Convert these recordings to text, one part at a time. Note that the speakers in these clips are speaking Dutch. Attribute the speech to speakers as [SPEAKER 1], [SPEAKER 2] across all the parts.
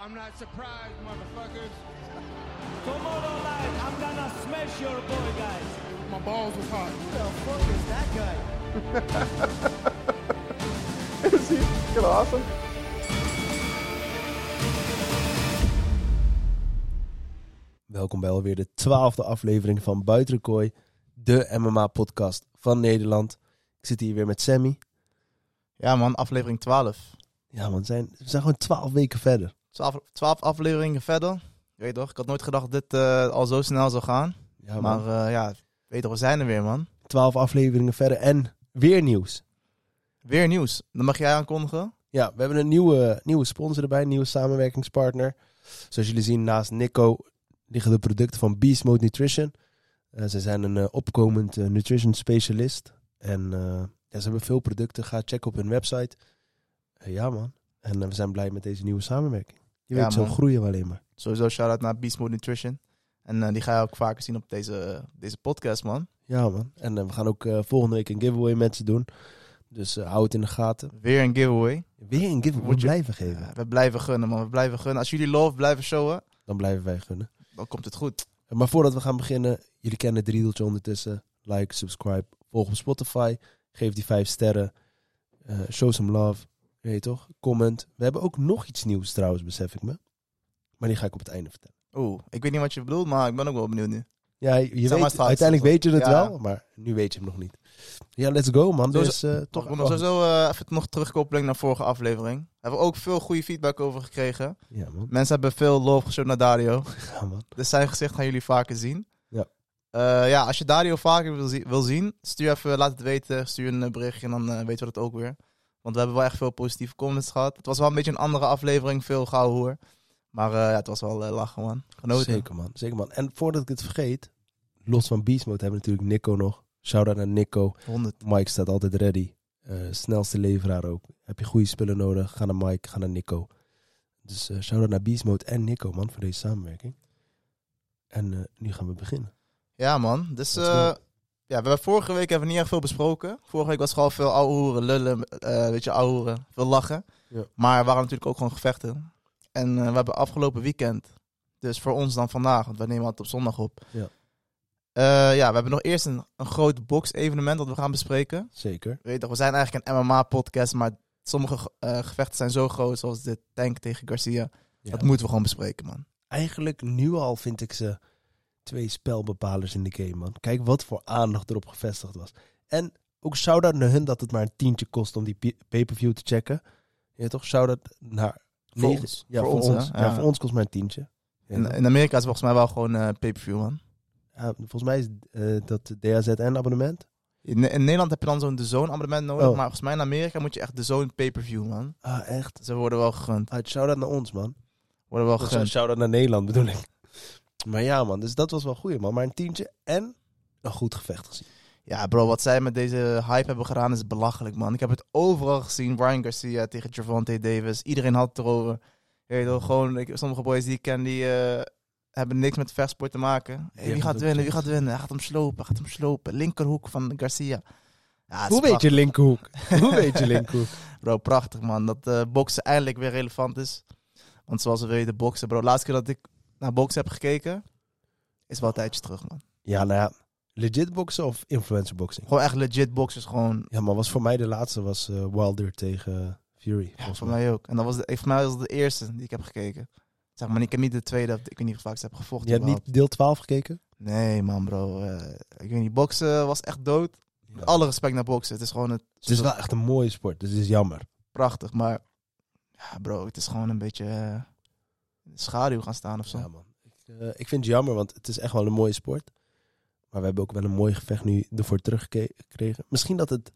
[SPEAKER 1] I'm not surprised, motherfuckers.
[SPEAKER 2] Tomorrow night, I'm gonna smash your boy, guys.
[SPEAKER 1] My balls was hot.
[SPEAKER 2] Who the fuck is that guy?
[SPEAKER 3] Is he fucking awesome?
[SPEAKER 4] Welkom bij alweer de twaalfde aflevering van Buiten de Kooi, de MMA-podcast van Nederland. Ik zit hier weer met Sammy.
[SPEAKER 5] Ja man, aflevering 12.
[SPEAKER 4] Ja man, we zijn, we zijn gewoon twaalf weken verder.
[SPEAKER 5] 12, 12 afleveringen verder. Je Weet toch, ik had nooit gedacht dat dit eh, al zo snel zou gaan.
[SPEAKER 4] Ja
[SPEAKER 5] maar
[SPEAKER 4] man,
[SPEAKER 5] eh, ja, weet toch, we zijn er weer man.
[SPEAKER 4] twaalf afleveringen verder en weer nieuws.
[SPEAKER 5] Weer nieuws. Dan mag jij aankondigen.
[SPEAKER 4] Ja, we hebben een nieuwe, nieuwe sponsor erbij, een nieuwe samenwerkingspartner. Zoals jullie zien, naast Nico liggen de producten van Beast Mode Nutrition. Eh, ze zijn een eh, opkomend eh, nutrition specialist. En eh, ja, ze hebben veel producten. Ga checken op hun website. Eh, ja man, en eh, we zijn blij met deze nieuwe samenwerking. Je
[SPEAKER 5] Ja,
[SPEAKER 4] weet, zo
[SPEAKER 5] man.
[SPEAKER 4] groeien we alleen maar.
[SPEAKER 5] Sowieso shout-out naar Beast Mode Nutrition. En eh, die ga je ook vaker zien op deze, deze podcast man.
[SPEAKER 4] Ja, man. En eh, we gaan ook eh, volgende week een giveaway met ze doen. Dus eh, hou het in de gaten.
[SPEAKER 5] Weer een giveaway.
[SPEAKER 4] Weer een giveaway.
[SPEAKER 5] Moet je-
[SPEAKER 4] blijven geven.
[SPEAKER 5] Ja, we blijven gunnen man, we blijven gunnen. Als jullie love blijven showen,
[SPEAKER 4] Dan blijven wij gunnen.
[SPEAKER 5] dan komt het goed.
[SPEAKER 4] Eh, Maar voordat we gaan beginnen, jullie kennen het riedeltje ondertussen. Like, subscribe, volg op Spotify. Geef die vijf sterren. Eh, show some love. Je Weet toch? Comment. We hebben ook nog iets nieuws trouwens, besef ik me. Maar die ga ik op het einde vertellen.
[SPEAKER 5] Oeh, ik weet niet wat je bedoelt, maar ik ben ook wel benieuwd nu.
[SPEAKER 4] Ja, je
[SPEAKER 5] maar
[SPEAKER 4] weet,
[SPEAKER 5] straks.
[SPEAKER 4] uiteindelijk weet je het
[SPEAKER 5] Ja.
[SPEAKER 4] wel, maar nu weet je hem nog niet. Ja, let's go man.
[SPEAKER 5] Zo-
[SPEAKER 4] Dus eh,
[SPEAKER 5] Toch,
[SPEAKER 4] toch
[SPEAKER 5] ik wil nog sowieso eh, even nog terugkoppeling naar vorige aflevering. Daar hebben we ook veel goede feedback over gekregen.
[SPEAKER 4] Ja man.
[SPEAKER 5] Mensen hebben veel lof gestuurd naar Dario.
[SPEAKER 4] Ja, man.
[SPEAKER 5] Dus zijn gezicht gaan jullie vaker zien.
[SPEAKER 4] Ja.
[SPEAKER 5] Eh, ja, als je Dario vaker wil, zie- wil zien, stuur even, laat het weten. Stuur een eh, berichtje en dan eh, weten we dat ook weer. Want we hebben wel echt veel positieve comments gehad. Het was wel een beetje een andere aflevering, veel gauw hoor. Maar eh, ja, het was wel eh, lachen man. Genoten.
[SPEAKER 4] Zeker man, zeker man. En voordat ik het vergeet, los van Beast Mode hebben we natuurlijk Nico nog. Shout-out naar Nico.
[SPEAKER 5] 100.
[SPEAKER 4] Mike staat altijd ready. Eh, snelste leveraar ook. Heb je goede spullen nodig, ga naar Mike, ga naar Nico. Dus eh shout-out naar Beast Mode en Nico man, voor deze samenwerking. En eh, nu gaan we beginnen.
[SPEAKER 5] Ja man, dus
[SPEAKER 4] Let's
[SPEAKER 5] eh,
[SPEAKER 4] go.
[SPEAKER 5] ja, we hebben vorige week hebben we niet echt veel besproken. Vorige week was gewoon veel ouwe hoeren, lullen, eh, weet je, ouwe hoeren, veel lachen.
[SPEAKER 4] Ja.
[SPEAKER 5] Maar er waren natuurlijk ook gewoon gevechten. En eh, we hebben afgelopen weekend, dus voor ons dan vandaag, want we nemen altijd op zondag op.
[SPEAKER 4] Ja.
[SPEAKER 5] Eh, ja, we hebben nog eerst een, een groot box-evenement dat we gaan bespreken.
[SPEAKER 4] Zeker.
[SPEAKER 5] Weet je toch, we zijn eigenlijk een MMA-podcast, maar sommige ge- eh, gevechten zijn zo groot, zoals de tank tegen Garcia.
[SPEAKER 4] Ja.
[SPEAKER 5] Dat moeten we gewoon bespreken, man.
[SPEAKER 4] Eigenlijk nu al vind ik ze twee spelbepalers in de game man. Kijk wat voor aandacht erop gevestigd was. En ook shout-out naar hun dat het maar een tientje kost om die pi- pay-per-view te checken. Ja toch? Shout-out naar
[SPEAKER 5] Voor
[SPEAKER 4] Negen-
[SPEAKER 5] ons.
[SPEAKER 4] Ja, voor, ons.
[SPEAKER 5] hè?
[SPEAKER 4] ja. eh, voor ons kost maar een tientje. Ja,
[SPEAKER 5] In, in Amerika is het volgens mij wel gewoon eh pay-per-view, man.
[SPEAKER 4] ja, Ah, volgens mij is eh, dat DHZN-abonnement.
[SPEAKER 5] In, in Nederland heb je dan zo'n de zoon abonnement nodig,
[SPEAKER 4] Oh.
[SPEAKER 5] maar volgens mij in Amerika moet je echt de zoon pay-per-view, man.
[SPEAKER 4] Ah, echt?
[SPEAKER 5] Ze worden wel gegund.
[SPEAKER 4] Ah, shout-out naar ons, man.
[SPEAKER 5] Worden wel
[SPEAKER 4] Of, eh,
[SPEAKER 5] gegund.
[SPEAKER 4] shout-out naar Nederland, bedoel ik. Maar ja, man. Dus dat was wel goed, man. Maar een tientje en een goed gevecht gezien.
[SPEAKER 5] Ja, bro, wat zij met deze hype hebben gedaan is belachelijk, man. Ik heb het overal gezien. Ryan Garcia tegen Javante Davis. Iedereen had het erover. Je weet wel, gewoon, ik, sommige boys die ik ken, die eh, hebben niks met vechtsport te maken. Hey,
[SPEAKER 4] Ja,
[SPEAKER 5] wie gaat
[SPEAKER 4] dat
[SPEAKER 5] winnen? Wie
[SPEAKER 4] klopt.
[SPEAKER 5] gaat winnen? Hij gaat hem slopen, hij gaat hem slopen. Linkerhoek van Garcia. Ja,
[SPEAKER 4] Hoe
[SPEAKER 5] het is
[SPEAKER 4] weet je
[SPEAKER 5] prachtig,
[SPEAKER 4] Linkhoek? Hoe weet je Linkhoek?
[SPEAKER 5] Bro, prachtig, man. Dat eh boksen eindelijk weer relevant is. Want zoals we weten, boksen, bro. De laatste keer dat ik naar boksen heb gekeken, is wel een tijdje terug, man.
[SPEAKER 4] Ja, nou ja. Legit boksen of influencer boxing?
[SPEAKER 5] Gewoon echt legit boksen is gewoon...
[SPEAKER 4] Ja, maar was voor mij de laatste was eh, Wilder tegen Fury.
[SPEAKER 5] Ja,
[SPEAKER 4] volgens
[SPEAKER 5] voor
[SPEAKER 4] mij.
[SPEAKER 5] mij ook. En dat was de, voor mij was dat de eerste die ik heb gekeken. Zeg maar, ik heb niet de tweede, of de- ik weet niet hoe vaak ze hebben gevochten.
[SPEAKER 4] Je hebt
[SPEAKER 5] überhaupt.
[SPEAKER 4] niet deel 12 gekeken?
[SPEAKER 5] Nee, man, bro. eh, ik weet niet, boksen was echt dood. Met alle respect naar boksen. Het is gewoon het,
[SPEAKER 4] Het is wel echt een mooie sport, dus het is jammer.
[SPEAKER 5] prachtig, maar... Ja, bro, het is gewoon een beetje... eh, in de schaduw gaan staan of zo.
[SPEAKER 4] Ja, man. Ik, eh, ik vind het jammer, want het is echt wel een mooie sport. Maar we hebben ook wel een mooi gevecht nu ervoor teruggekregen. Misschien dat het,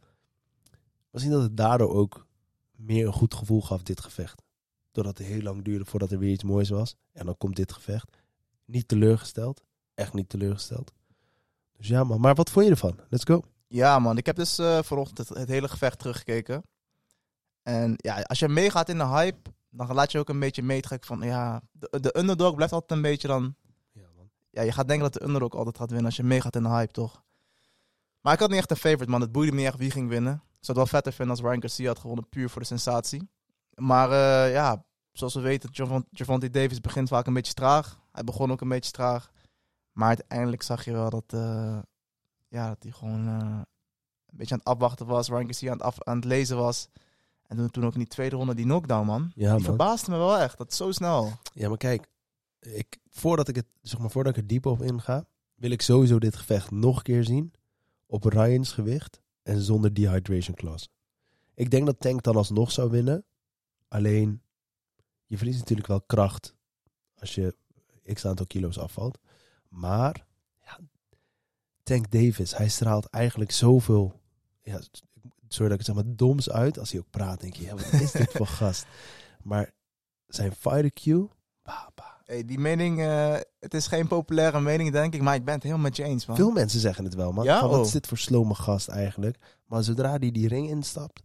[SPEAKER 4] misschien dat het daardoor ook meer een goed gevoel gaf, dit gevecht. Doordat het heel lang duurde voordat er weer iets moois was. En dan komt dit gevecht. Niet teleurgesteld. Echt niet teleurgesteld. Dus ja, man. Maar wat vond je ervan? Let's go.
[SPEAKER 5] Ja, man. Ik heb dus eh, vanochtend het, het hele gevecht teruggekeken. En ja, als je meegaat in de hype, dan laat je ook een beetje meetrekken van... Ja, de, de underdog blijft altijd een beetje dan...
[SPEAKER 4] Ja, man.
[SPEAKER 5] Ja, je gaat denken dat de underdog altijd gaat winnen als je meegaat in de hype, toch? Maar ik had niet echt een favorite, man. Het boeide me niet echt wie ging winnen. Ik zou het wel vetter vinden als Ryan Garcia had gewonnen, puur voor de sensatie. Maar eh, ja, zoals we weten, Javon- Javonte Davis begint vaak een beetje traag. Hij begon ook een beetje traag. Maar uiteindelijk zag je wel dat, eh, ja, dat hij gewoon eh, een beetje aan het afwachten was. Ryan Garcia aan het, af, aan het lezen was. En toen, toen ook in die tweede ronde die knockdown, man.
[SPEAKER 4] Ja,
[SPEAKER 5] die
[SPEAKER 4] man.
[SPEAKER 5] verbaasde me wel echt. Dat is zo snel.
[SPEAKER 4] Ja, maar kijk, ik, voordat, ik het, zeg maar, voordat ik er diep op inga, wil ik sowieso dit gevecht nog een keer zien. Op Ryan's gewicht en zonder dehydration clause. Ik denk dat Tank dan alsnog zou winnen. Alleen, je verliest natuurlijk wel kracht als je x aantal kilo's afvalt. Maar, ja, Tank Davis, hij straalt eigenlijk zoveel, ja, sorry dat ik het zeg maar, doms uit. Als hij ook praat, denk je, ja, wat is dit voor gast? Maar zijn fighter Q, bah, bah.
[SPEAKER 5] Hey, die mening, eh, het is geen populaire mening, denk ik. Maar ik ben het helemaal met je eens, man.
[SPEAKER 4] Veel mensen zeggen het wel, man.
[SPEAKER 5] Ja?
[SPEAKER 4] Van, wat
[SPEAKER 5] Oh.
[SPEAKER 4] is dit voor slome gast eigenlijk? Maar zodra die die ring instapt,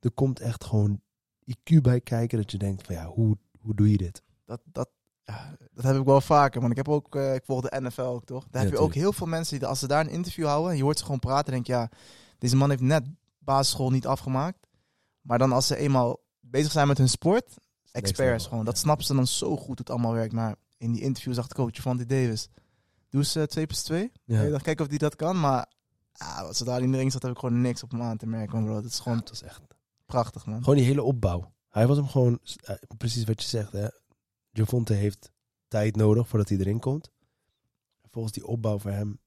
[SPEAKER 4] er komt echt gewoon IQ bij kijken dat je denkt van ja, hoe, hoe doe je dit?
[SPEAKER 5] dat, dat, ja, dat heb ik wel vaker. Want ik heb ook, eh, ik volg de NFL ook, toch? Daar
[SPEAKER 4] Ja,
[SPEAKER 5] heb je ook
[SPEAKER 4] tuurlijk.
[SPEAKER 5] heel veel mensen die, als ze daar een interview houden, en je hoort ze gewoon praten, denk je, ja, deze man heeft net basisschool niet afgemaakt. Maar dan als ze eenmaal bezig zijn met hun sport, experts
[SPEAKER 4] level,
[SPEAKER 5] gewoon. Dat
[SPEAKER 4] ja.
[SPEAKER 5] snappen ze dan zo goed hoe het allemaal werkt. Maar in die interview zag de coach van die Davis, doe eens eh, 2 plus 2.
[SPEAKER 4] Ja.
[SPEAKER 5] Ik dacht, kijken of die dat kan, maar ah, wat ze daar in de ring zat, heb ik gewoon niks op hem aan te merken, man, bro. Dat is
[SPEAKER 4] Ja,
[SPEAKER 5] gewoon
[SPEAKER 4] het was echt.
[SPEAKER 5] prachtig, man.
[SPEAKER 4] Gewoon die hele opbouw. Hij was hem gewoon, eh, precies wat je zegt, hè. Javonte heeft tijd nodig voordat hij erin komt. Volgens die opbouw voor hem,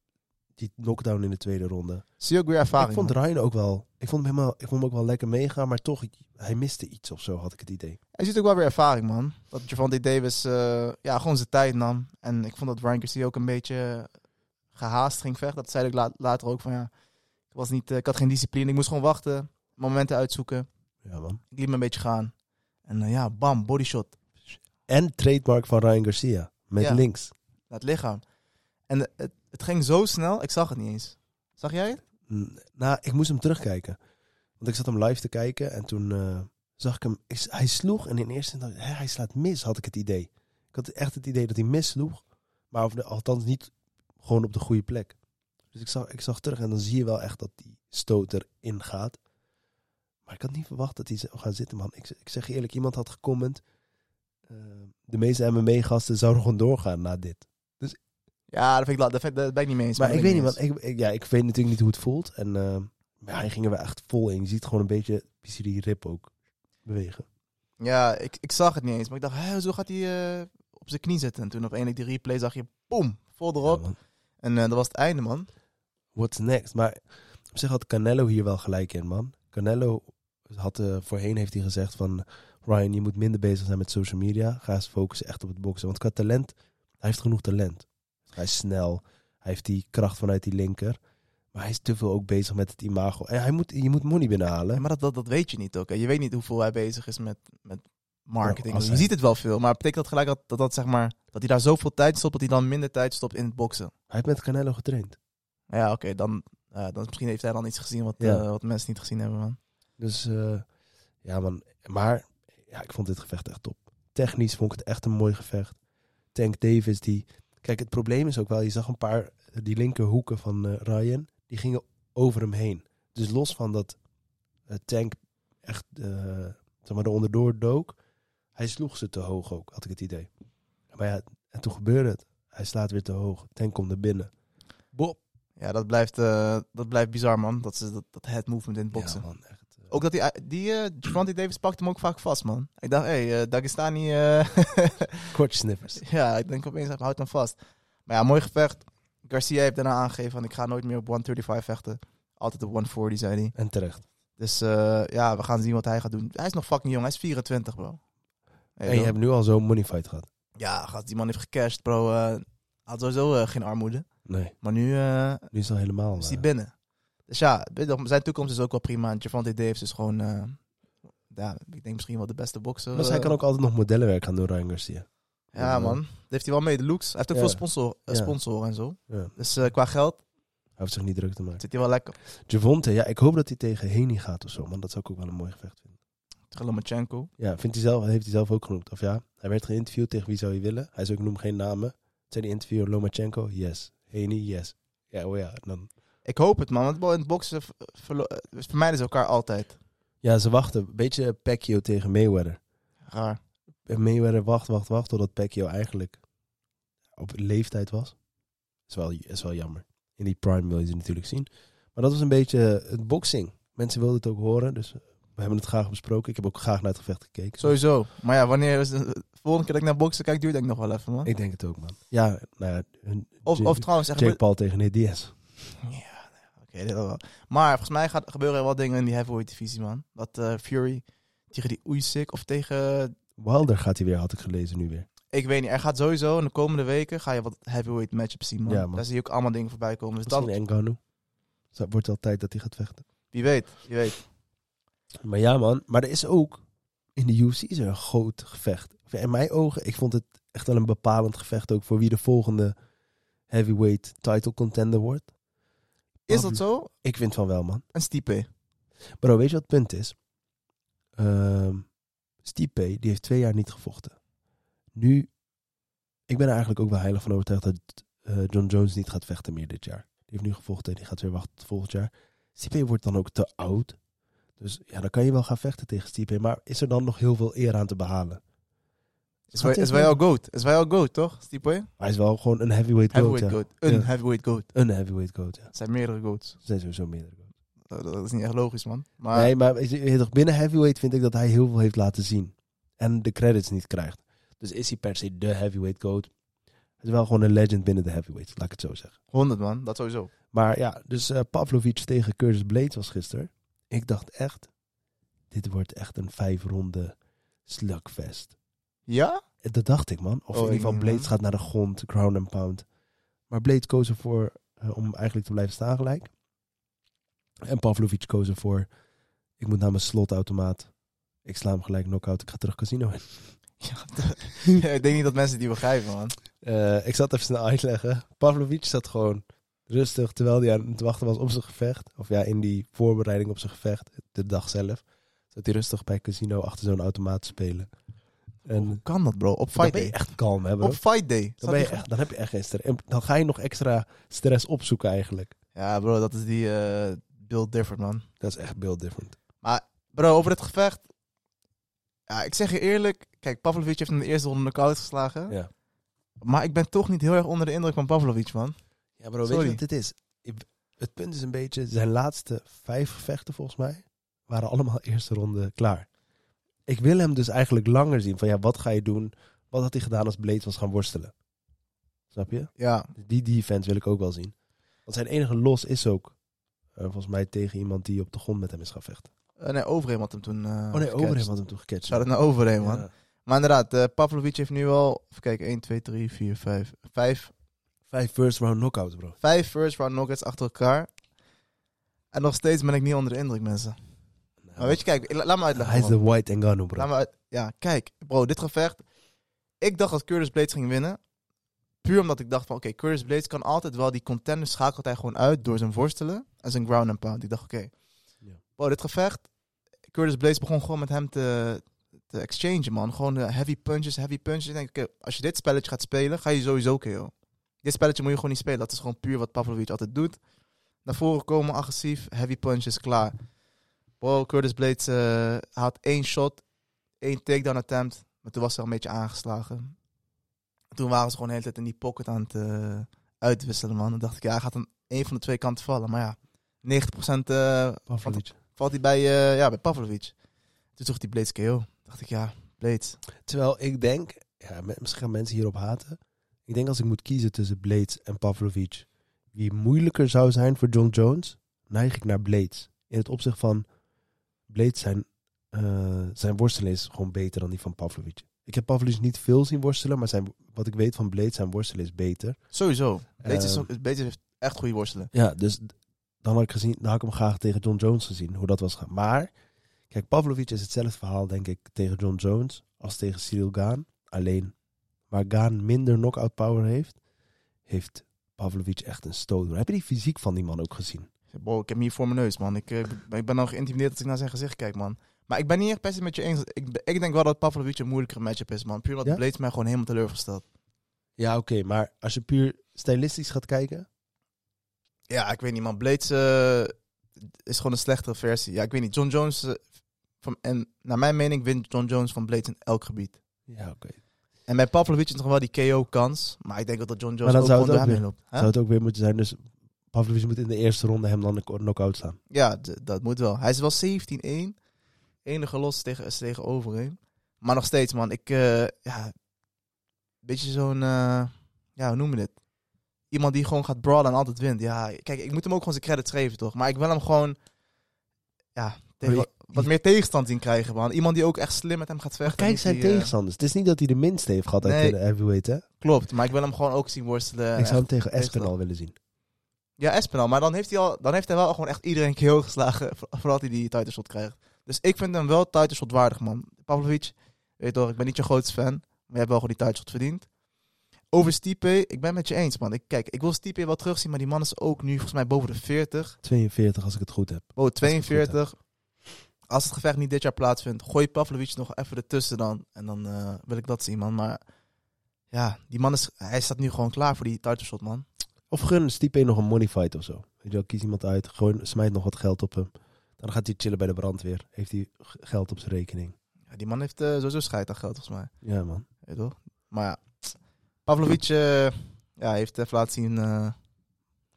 [SPEAKER 4] die knockdown in de tweede ronde.
[SPEAKER 5] Zie je ook weer ervaring.
[SPEAKER 4] Ik vond
[SPEAKER 5] man.
[SPEAKER 4] Ryan ook wel, ik vond hem, helemaal, ik vond hem ook wel lekker meegaan, maar toch, ik- hij miste iets of zo, had ik het idee.
[SPEAKER 5] Hij ziet ook wel weer ervaring, man. Dat Javante Davis eh, ja, gewoon zijn tijd nam. En ik vond dat Ryan Garcia ook een beetje gehaast ging vechten. Dat zei ik la- later ook van ja, ik, was niet, eh, ik had geen discipline. Ik moest gewoon wachten, momenten uitzoeken.
[SPEAKER 4] Ja, man.
[SPEAKER 5] Ik liet me een beetje gaan. En eh, ja, bam, bodyshot.
[SPEAKER 4] En trademark van Ryan Garcia. Met
[SPEAKER 5] Ja.
[SPEAKER 4] links.
[SPEAKER 5] Naar het lichaam. En eh, het, het ging zo snel, ik zag het niet eens. Zag jij het?
[SPEAKER 4] Mm, Nou, ik moest hem terugkijken. Want ik zat hem live te kijken en toen eh, zag ik hem. ik s- hij sloeg en in eerste instantie, hè, hij slaat mis, had ik het idee. Ik had echt het idee dat hij missloeg. Maar of de- althans niet gewoon op de goede plek. Dus ik zag, ik zag terug en dan zie je wel echt dat die stoot erin gaat. Maar ik had niet verwacht dat hij zou gaan zitten, man. Ik, z- ik zeg je eerlijk, iemand had gecomment. eh, de meeste MMA-gasten zouden gewoon doorgaan na dit.
[SPEAKER 5] Ja, dat, vind ik, la- dat, vind, dat ben ik niet mee eens.
[SPEAKER 4] Maar
[SPEAKER 5] man.
[SPEAKER 4] ik
[SPEAKER 5] Dat
[SPEAKER 4] weet niet,
[SPEAKER 5] ben
[SPEAKER 4] want ik, ik- ja, ik weet natuurlijk niet hoe het voelt. En eh, ja, hij ging er wel echt vol in. Je ziet gewoon een beetje, je ziet die rib ook bewegen.
[SPEAKER 5] Ja, ik, ik zag het niet eens. Maar ik dacht, hè, zo gaat hij eh, op zijn knie zitten. En toen opeens die replay zag je, boom, vol erop.
[SPEAKER 4] Ja, man.
[SPEAKER 5] en eh, dat was het einde, man.
[SPEAKER 4] What's next? Maar op zich had Canelo hier wel gelijk in, man. Canelo had eh, voorheen heeft hij gezegd van... Ryan, je moet minder bezig zijn met social media. Ga eens focussen echt op het boksen. Want qua talent, hij heeft genoeg talent. Hij is snel. Hij heeft die kracht vanuit die linker. Maar hij is te veel ook bezig met het imago. En hij moet, je moet money binnenhalen.
[SPEAKER 5] Ja, maar dat, dat, dat weet je niet ook. Hè. Je weet niet hoeveel hij bezig is met, met marketing.
[SPEAKER 4] Nou, als
[SPEAKER 5] je
[SPEAKER 4] hij-
[SPEAKER 5] ziet het wel veel, maar betekent dat gelijk dat, dat, dat, zeg maar, dat hij daar zoveel tijd stopt, dat hij dan minder tijd stopt in het boksen?
[SPEAKER 4] Hij heeft met Canelo getraind.
[SPEAKER 5] Nou Ja, oké, dan, eh, dan misschien heeft hij dan iets gezien wat,
[SPEAKER 4] Ja.
[SPEAKER 5] eh, wat mensen niet gezien hebben, man.
[SPEAKER 4] Dus eh, ja, man. Maar ja, ik vond dit gevecht echt top. Technisch vond ik het echt een mooi gevecht. Tank Davis, die. Kijk, het probleem is ook wel, je zag een paar. eh, Die linkerhoeken van eh, Ryan. Die gingen over hem heen. Dus los van dat eh, Tank echt. eh zeg maar, er onderdoor dook. Hij sloeg ze te hoog ook, had ik het idee. Maar ja, en toen gebeurde het. Hij slaat weer te hoog. Tank komt er binnen. Bob.
[SPEAKER 5] Ja, dat blijft, eh, dat blijft bizar, man. Dat, is, dat, dat head movement in het boksen.
[SPEAKER 4] Ja, man, echt. eh,
[SPEAKER 5] ook dat die, die eh, Javante Davis pakt hem ook vaak vast, man. Ik dacht, hé, hey, eh, Dagestani, eh,
[SPEAKER 4] kortsnippers.
[SPEAKER 5] Ja, ik denk opeens, hij houdt hem vast. Maar ja, mooi gevecht. Garcia heeft daarna aangegeven van, ik ga nooit meer op 135 vechten. Altijd op 140, zei hij.
[SPEAKER 4] En terecht.
[SPEAKER 5] Dus eh, ja, we gaan zien wat hij gaat doen. Hij is nog fucking jong, hij is 24, bro. Hey,
[SPEAKER 4] en je
[SPEAKER 5] bro.
[SPEAKER 4] hebt nu al zo'n money fight gehad.
[SPEAKER 5] Ja, gast, die man heeft gecashed, bro. eh, Hij had sowieso eh, geen armoede.
[SPEAKER 4] Nee.
[SPEAKER 5] Maar nu eh,
[SPEAKER 4] Nu is het al helemaal.
[SPEAKER 5] is
[SPEAKER 4] eh,
[SPEAKER 5] hij binnen. Dus ja, weet je nog, zijn toekomst is ook wel prima. En Javante Davis is gewoon, eh, ja, ik denk misschien wel de beste bokser.
[SPEAKER 4] maar hij
[SPEAKER 5] eh.
[SPEAKER 4] kan ook altijd nog modellenwerk gaan doen, eh, Ryan Garcia.
[SPEAKER 5] Ja, man. Dat heeft hij wel mee, de looks. Hij heeft ook
[SPEAKER 4] Ja.
[SPEAKER 5] veel sponsor, eh,
[SPEAKER 4] Ja.
[SPEAKER 5] sponsoren en zo.
[SPEAKER 4] Ja.
[SPEAKER 5] Dus eh, qua geld
[SPEAKER 4] Hij hoeft zich niet druk te maken.
[SPEAKER 5] zit hij wel lekker.
[SPEAKER 4] Javonte, ja, ik hoop dat hij tegen Heni gaat of zo, man. Dat zou ik ook wel een mooi gevecht vinden.
[SPEAKER 5] Tegen Lomachenko.
[SPEAKER 4] Ja, vindt hij zelf, heeft hij zelf ook genoemd. Of ja, hij werd geïnterviewd tegen wie zou je willen. Hij zei, ik noem geen namen. Zei die interviewer Lomachenko? Yes. Heni? Yes. Ja, oh ja. en Dan...
[SPEAKER 5] Ik hoop het, man. Want in het boksen ver- verlo- eh, vermijden ze elkaar altijd.
[SPEAKER 4] Ja, ze wachten. Beetje Pacquiao tegen Mayweather.
[SPEAKER 5] Raar.
[SPEAKER 4] En Mayweather wacht, wacht, wacht, totdat Pacquiao eigenlijk op leeftijd was. Is wel, is wel jammer. In die prime wil je ze natuurlijk zien. Maar dat was een beetje eh, het boxing. Mensen wilden het ook horen, dus we hebben het graag besproken. Ik heb ook graag naar het gevecht gekeken.
[SPEAKER 5] Sowieso. Maar ja, wanneer is de volgende keer dat ik naar boksen kijk, duurt denk ik nog wel even, man.
[SPEAKER 4] Ik denk het ook, man. Ja, nou ja. hun-
[SPEAKER 5] Of,
[SPEAKER 4] Jake-
[SPEAKER 5] of trouwens, echt.
[SPEAKER 4] Jake Paul tegen Nate Diaz.
[SPEAKER 5] Oké, dit wel. Maar volgens mij gaat, gebeuren er wel dingen in die heavyweight divisie, man. Dat eh, Fury tegen die Usyk of tegen...
[SPEAKER 4] Wilder gaat hij weer, had ik gelezen nu weer.
[SPEAKER 5] Ik weet niet, er gaat sowieso in de komende weken ga je wat heavyweight matchups zien, man.
[SPEAKER 4] Ja, man.
[SPEAKER 5] Daar zie je ook allemaal dingen voorbij komen. Dus
[SPEAKER 4] Misschien
[SPEAKER 5] dat,
[SPEAKER 4] Ngannou. Zo, Het wordt wel tijd dat hij gaat vechten.
[SPEAKER 5] wie weet, wie weet.
[SPEAKER 4] Maar ja, man. Maar er is ook in de UFC is er een groot gevecht. In mijn ogen, ik vond het echt wel een bepalend gevecht ook voor wie de volgende heavyweight title contender wordt.
[SPEAKER 5] Is dat zo?
[SPEAKER 4] Ik vind van wel, man.
[SPEAKER 5] Een Stipe.
[SPEAKER 4] Bro, weet je wat het punt is? Ehm Stipe, die heeft twee jaar niet gevochten. Nu, ik ben er eigenlijk ook wel heilig van overtuigd dat eh, John Jones niet gaat vechten meer dit jaar. Die heeft nu gevochten en die gaat weer wachten tot volgend jaar. Stipe wordt dan ook te oud. Dus ja, dan kan je wel gaan vechten tegen Stipe. Maar is er dan nog heel veel eer aan te behalen?
[SPEAKER 5] Is
[SPEAKER 4] Gaat
[SPEAKER 5] wij,
[SPEAKER 4] hij
[SPEAKER 5] is
[SPEAKER 4] wel-
[SPEAKER 5] wij al goat? Is wij al goat, toch? Stipe?
[SPEAKER 4] Hij is wel gewoon een heavyweight goat.
[SPEAKER 5] Heavyweight
[SPEAKER 4] ja.
[SPEAKER 5] goat. Een
[SPEAKER 4] Ja.
[SPEAKER 5] heavyweight goat.
[SPEAKER 4] Een heavyweight goat, ja.
[SPEAKER 5] Het zijn meerdere goats.
[SPEAKER 4] Er zijn sowieso meerdere goats.
[SPEAKER 5] Nou, Dat, dat is niet echt logisch, man. Maar
[SPEAKER 4] Nee, maar weet je, weet je toch, binnen heavyweight vind ik dat hij heel veel heeft laten zien. En de credits niet krijgt. Dus is hij per se de heavyweight goat. Hij is wel gewoon een legend binnen de heavyweight, laat ik het zo zeggen.
[SPEAKER 5] 100, man. Dat sowieso.
[SPEAKER 4] Maar ja, dus eh, Pavlovic tegen Curtis Blades was gisteren. Ik dacht echt, dit wordt echt een vijfronde slugfest.
[SPEAKER 5] Ja?
[SPEAKER 4] Eh, Dat dacht ik, man. Of
[SPEAKER 5] Oh,
[SPEAKER 4] in ieder geval,
[SPEAKER 5] ik-
[SPEAKER 4] Blades gaat naar de grond, ground and pound. Maar Blades koos ervoor eh, om eigenlijk te blijven staan gelijk. En Pavlovic koos ervoor, ik moet naar mijn slotautomaat. Ik sla hem gelijk knock-out, ik ga terug casino in.
[SPEAKER 5] Ja, ik denk niet dat mensen die begrijpen, man.
[SPEAKER 4] Eh, ik zat even snel uitleggen. Pavlovic zat gewoon rustig terwijl hij aan het wachten was op zijn gevecht. Of ja, in die voorbereiding op zijn gevecht, de dag zelf. Zat hij rustig bij casino achter zo'n automaat te spelen.
[SPEAKER 5] Hoe
[SPEAKER 4] En
[SPEAKER 5] kan dat, bro? Op
[SPEAKER 4] dan
[SPEAKER 5] fight
[SPEAKER 4] ben je
[SPEAKER 5] day.
[SPEAKER 4] echt kalm, hè bro?
[SPEAKER 5] Op fight day.
[SPEAKER 4] Dan, ben je echt, dan heb je echt geen stress. En dan ga je nog extra stress opzoeken eigenlijk.
[SPEAKER 5] Ja, bro, dat is die eh Bill Different, man.
[SPEAKER 4] Dat is echt build different.
[SPEAKER 5] Bro, over het gevecht. Ja, ik zeg je eerlijk. Kijk, Pavlovic heeft in de eerste ronde knock-out geslagen.
[SPEAKER 4] Ja.
[SPEAKER 5] Maar ik ben toch niet heel erg onder de indruk van Pavlovic, man.
[SPEAKER 4] Ja bro,
[SPEAKER 5] Sorry.
[SPEAKER 4] dit is? Ik- Het punt is een beetje, zijn laatste vijf gevechten volgens mij, waren allemaal eerste ronde klaar. Ik wil hem dus eigenlijk langer zien van ja, wat ga je doen? Wat had hij gedaan als Blades was gaan worstelen? Snap je?
[SPEAKER 5] Ja,
[SPEAKER 4] Die defense wil ik ook wel zien. Want zijn enige los is ook, eh, volgens mij tegen iemand die op de grond met hem is gaan vechten.
[SPEAKER 5] Eh, nee, Overeem had hem toen eh
[SPEAKER 4] Oh nee, Overeem had hem toen gecatcht.
[SPEAKER 5] Zou dat naar Overeem,
[SPEAKER 4] Ja.
[SPEAKER 5] man? Maar inderdaad, eh Pavlovic heeft nu al... Even kijken, 1, 2, 3, 4, 5... 5,
[SPEAKER 4] Vijf first round knockouts bro.
[SPEAKER 5] 5 first round knockouts achter elkaar. En nog steeds ben ik niet onder de indruk, mensen. Maar weet je, kijk, la- laat me uitleggen.
[SPEAKER 4] Hij is
[SPEAKER 5] man.
[SPEAKER 4] de white Engano bro.
[SPEAKER 5] Laat me uit- ja, kijk, bro, dit gevecht. Ik dacht dat Curtis Blades ging winnen. Puur omdat ik dacht van, oké, Curtis Blades kan altijd wel die contender schakelt hij gewoon uit door zijn worstelen en zijn ground and pound. Ik dacht, oké,
[SPEAKER 4] Ja.
[SPEAKER 5] bro, dit gevecht. Curtis Blades begon gewoon met hem te, te exchangen, man. Gewoon eh, heavy punches, heavy punches. Ik denk, oké, als je dit spelletje gaat spelen, ga je sowieso KO. Dit spelletje moet je gewoon niet spelen. Dat is gewoon puur wat Pavlovic altijd doet. Naar voren komen, agressief, heavy punches, klaar. Bro, Curtis Blades eh, had één shot, één takedown attempt. Maar toen was ze al een beetje aangeslagen. Toen waren ze gewoon de hele tijd in die pocket aan het eh, uitwisselen, man. Dan dacht ik, ja, hij gaat aan één van de twee kanten vallen. Maar ja, 90% eh,
[SPEAKER 4] Pavlovic.
[SPEAKER 5] valt hij bij, eh, ja, bij Pavlovic. Toen zocht hij Blades KO. dacht ik, ja, Blades.
[SPEAKER 4] Terwijl ik denk, ja, me- misschien gaan mensen hierop haten. Ik denk als ik moet kiezen tussen Blades en Pavlovic, wie moeilijker zou zijn voor John Jones, neig ik naar Blades. In het opzicht van Blades zijn, eh, zijn worstelen is gewoon beter dan die van Pavlovic. Ik heb Pavlovic niet veel zien worstelen, maar zijn, wat ik weet van Blades, zijn worstelen is beter.
[SPEAKER 5] Sowieso. Blades, is
[SPEAKER 4] Ehm.
[SPEAKER 5] ook, Blades heeft echt goede worstelen.
[SPEAKER 4] Ja, dus d- dan had ik, gezien, dan had ik hem graag tegen John Jones gezien, hoe dat was gaan. Maar, kijk, Pavlovic is hetzelfde verhaal, denk ik, tegen John Jones als tegen Cyril Gaan. Alleen, waar Gaan minder knockout power heeft, heeft Pavlovic echt een stoot. Heb je die fysiek van die man ook gezien?
[SPEAKER 5] Bro, ik heb hem hier voor mijn neus, man. Ik, eh, ben- ik ben al geïntimideerd als ik naar zijn gezicht kijk, man. Maar ik ben niet echt best met je eens. Ik, ben- ik denk wel dat Pavlovic een moeilijkere matchup is, man. Puur omdat
[SPEAKER 4] Ja?
[SPEAKER 5] Blades mij gewoon helemaal teleurgesteld.
[SPEAKER 4] Ja, oké, maar als je puur stylistisch gaat kijken...
[SPEAKER 5] Ja, ik weet niet, man. Blades eh, is gewoon een slechtere versie. Ja, ik weet niet. John Jones, eh, van, en naar mijn mening, wint John Jones van Blades in elk gebied.
[SPEAKER 4] Ja, oké.
[SPEAKER 5] En bij Pavlovic is nog wel die KO-kans. Maar ik denk dat dat John Jones
[SPEAKER 4] dan
[SPEAKER 5] ook
[SPEAKER 4] zou
[SPEAKER 5] gewoon
[SPEAKER 4] het ook
[SPEAKER 5] door hem heen loopt. Hè?
[SPEAKER 4] Zou het ook weer moeten zijn. Dus Pavlovic moet in de eerste ronde hem dan een knock-out slaan.
[SPEAKER 5] Ja, d- dat moet wel. Hij is wel 17-1. Enige los tegen, is tegen overheen. Maar nog steeds, man. Ik, eh ja, beetje zo'n, eh, ja, hoe noem je dit? Iemand die gewoon gaat brawlen en altijd wint. Ja, kijk, ik moet hem ook gewoon zijn credits geven, toch? Maar ik wil hem gewoon, ja, tegen,
[SPEAKER 4] Maar
[SPEAKER 5] wat meer tegenstand in krijgen, man. Iemand die ook echt slim met hem gaat vechten.
[SPEAKER 4] Kijk
[SPEAKER 5] niet
[SPEAKER 4] zijn
[SPEAKER 5] die, eh,
[SPEAKER 4] tegenstanders. Het is niet dat hij de minste heeft gehad
[SPEAKER 5] Nee.
[SPEAKER 4] uit de heavyweight, hè?
[SPEAKER 5] Klopt, maar ik wil hem gewoon ook zien worstelen.
[SPEAKER 4] ik zou hem
[SPEAKER 5] Echt.
[SPEAKER 4] tegen Espinal
[SPEAKER 5] tegenstander.
[SPEAKER 4] willen zien.
[SPEAKER 5] Ja, Espinal. Maar dan heeft, hij al, dan heeft hij wel gewoon echt iedereen keel geslagen. vo- Voordat hij die title shot krijgt. Dus ik vind hem wel title shot waardig, man. Pavlovic, weet je toch, ik ben niet je grootste fan. Maar je hebt wel gewoon die title shot verdiend. Over Stipe, ik ben met je eens, man. Ik, kijk, ik wil Stipe wel terugzien, maar die man is ook nu volgens mij boven de 40.
[SPEAKER 4] 42 als ik het goed heb.
[SPEAKER 5] Boven
[SPEAKER 4] is goed, hè.
[SPEAKER 5] 42. Als het gevecht niet dit jaar plaatsvindt, gooi Pavlovic nog even ertussen dan. En dan eh, wil ik dat zien, man. Maar ja, die man is, hij staat nu gewoon klaar voor die title shot, man.
[SPEAKER 4] Of gun Stipe nog een money fight of zo. Weet je wel, kies iemand uit. Gewoon smijt nog wat geld op hem. Dan gaat hij chillen bij de brandweer. Heeft hij g- geld op zijn rekening.
[SPEAKER 5] Ja, die man heeft eh, sowieso scheid aan geld, volgens mij.
[SPEAKER 4] Ja, man.
[SPEAKER 5] Weet je wel? Maar ja, Pavlovic eh, ja, heeft even laten zien eh, wie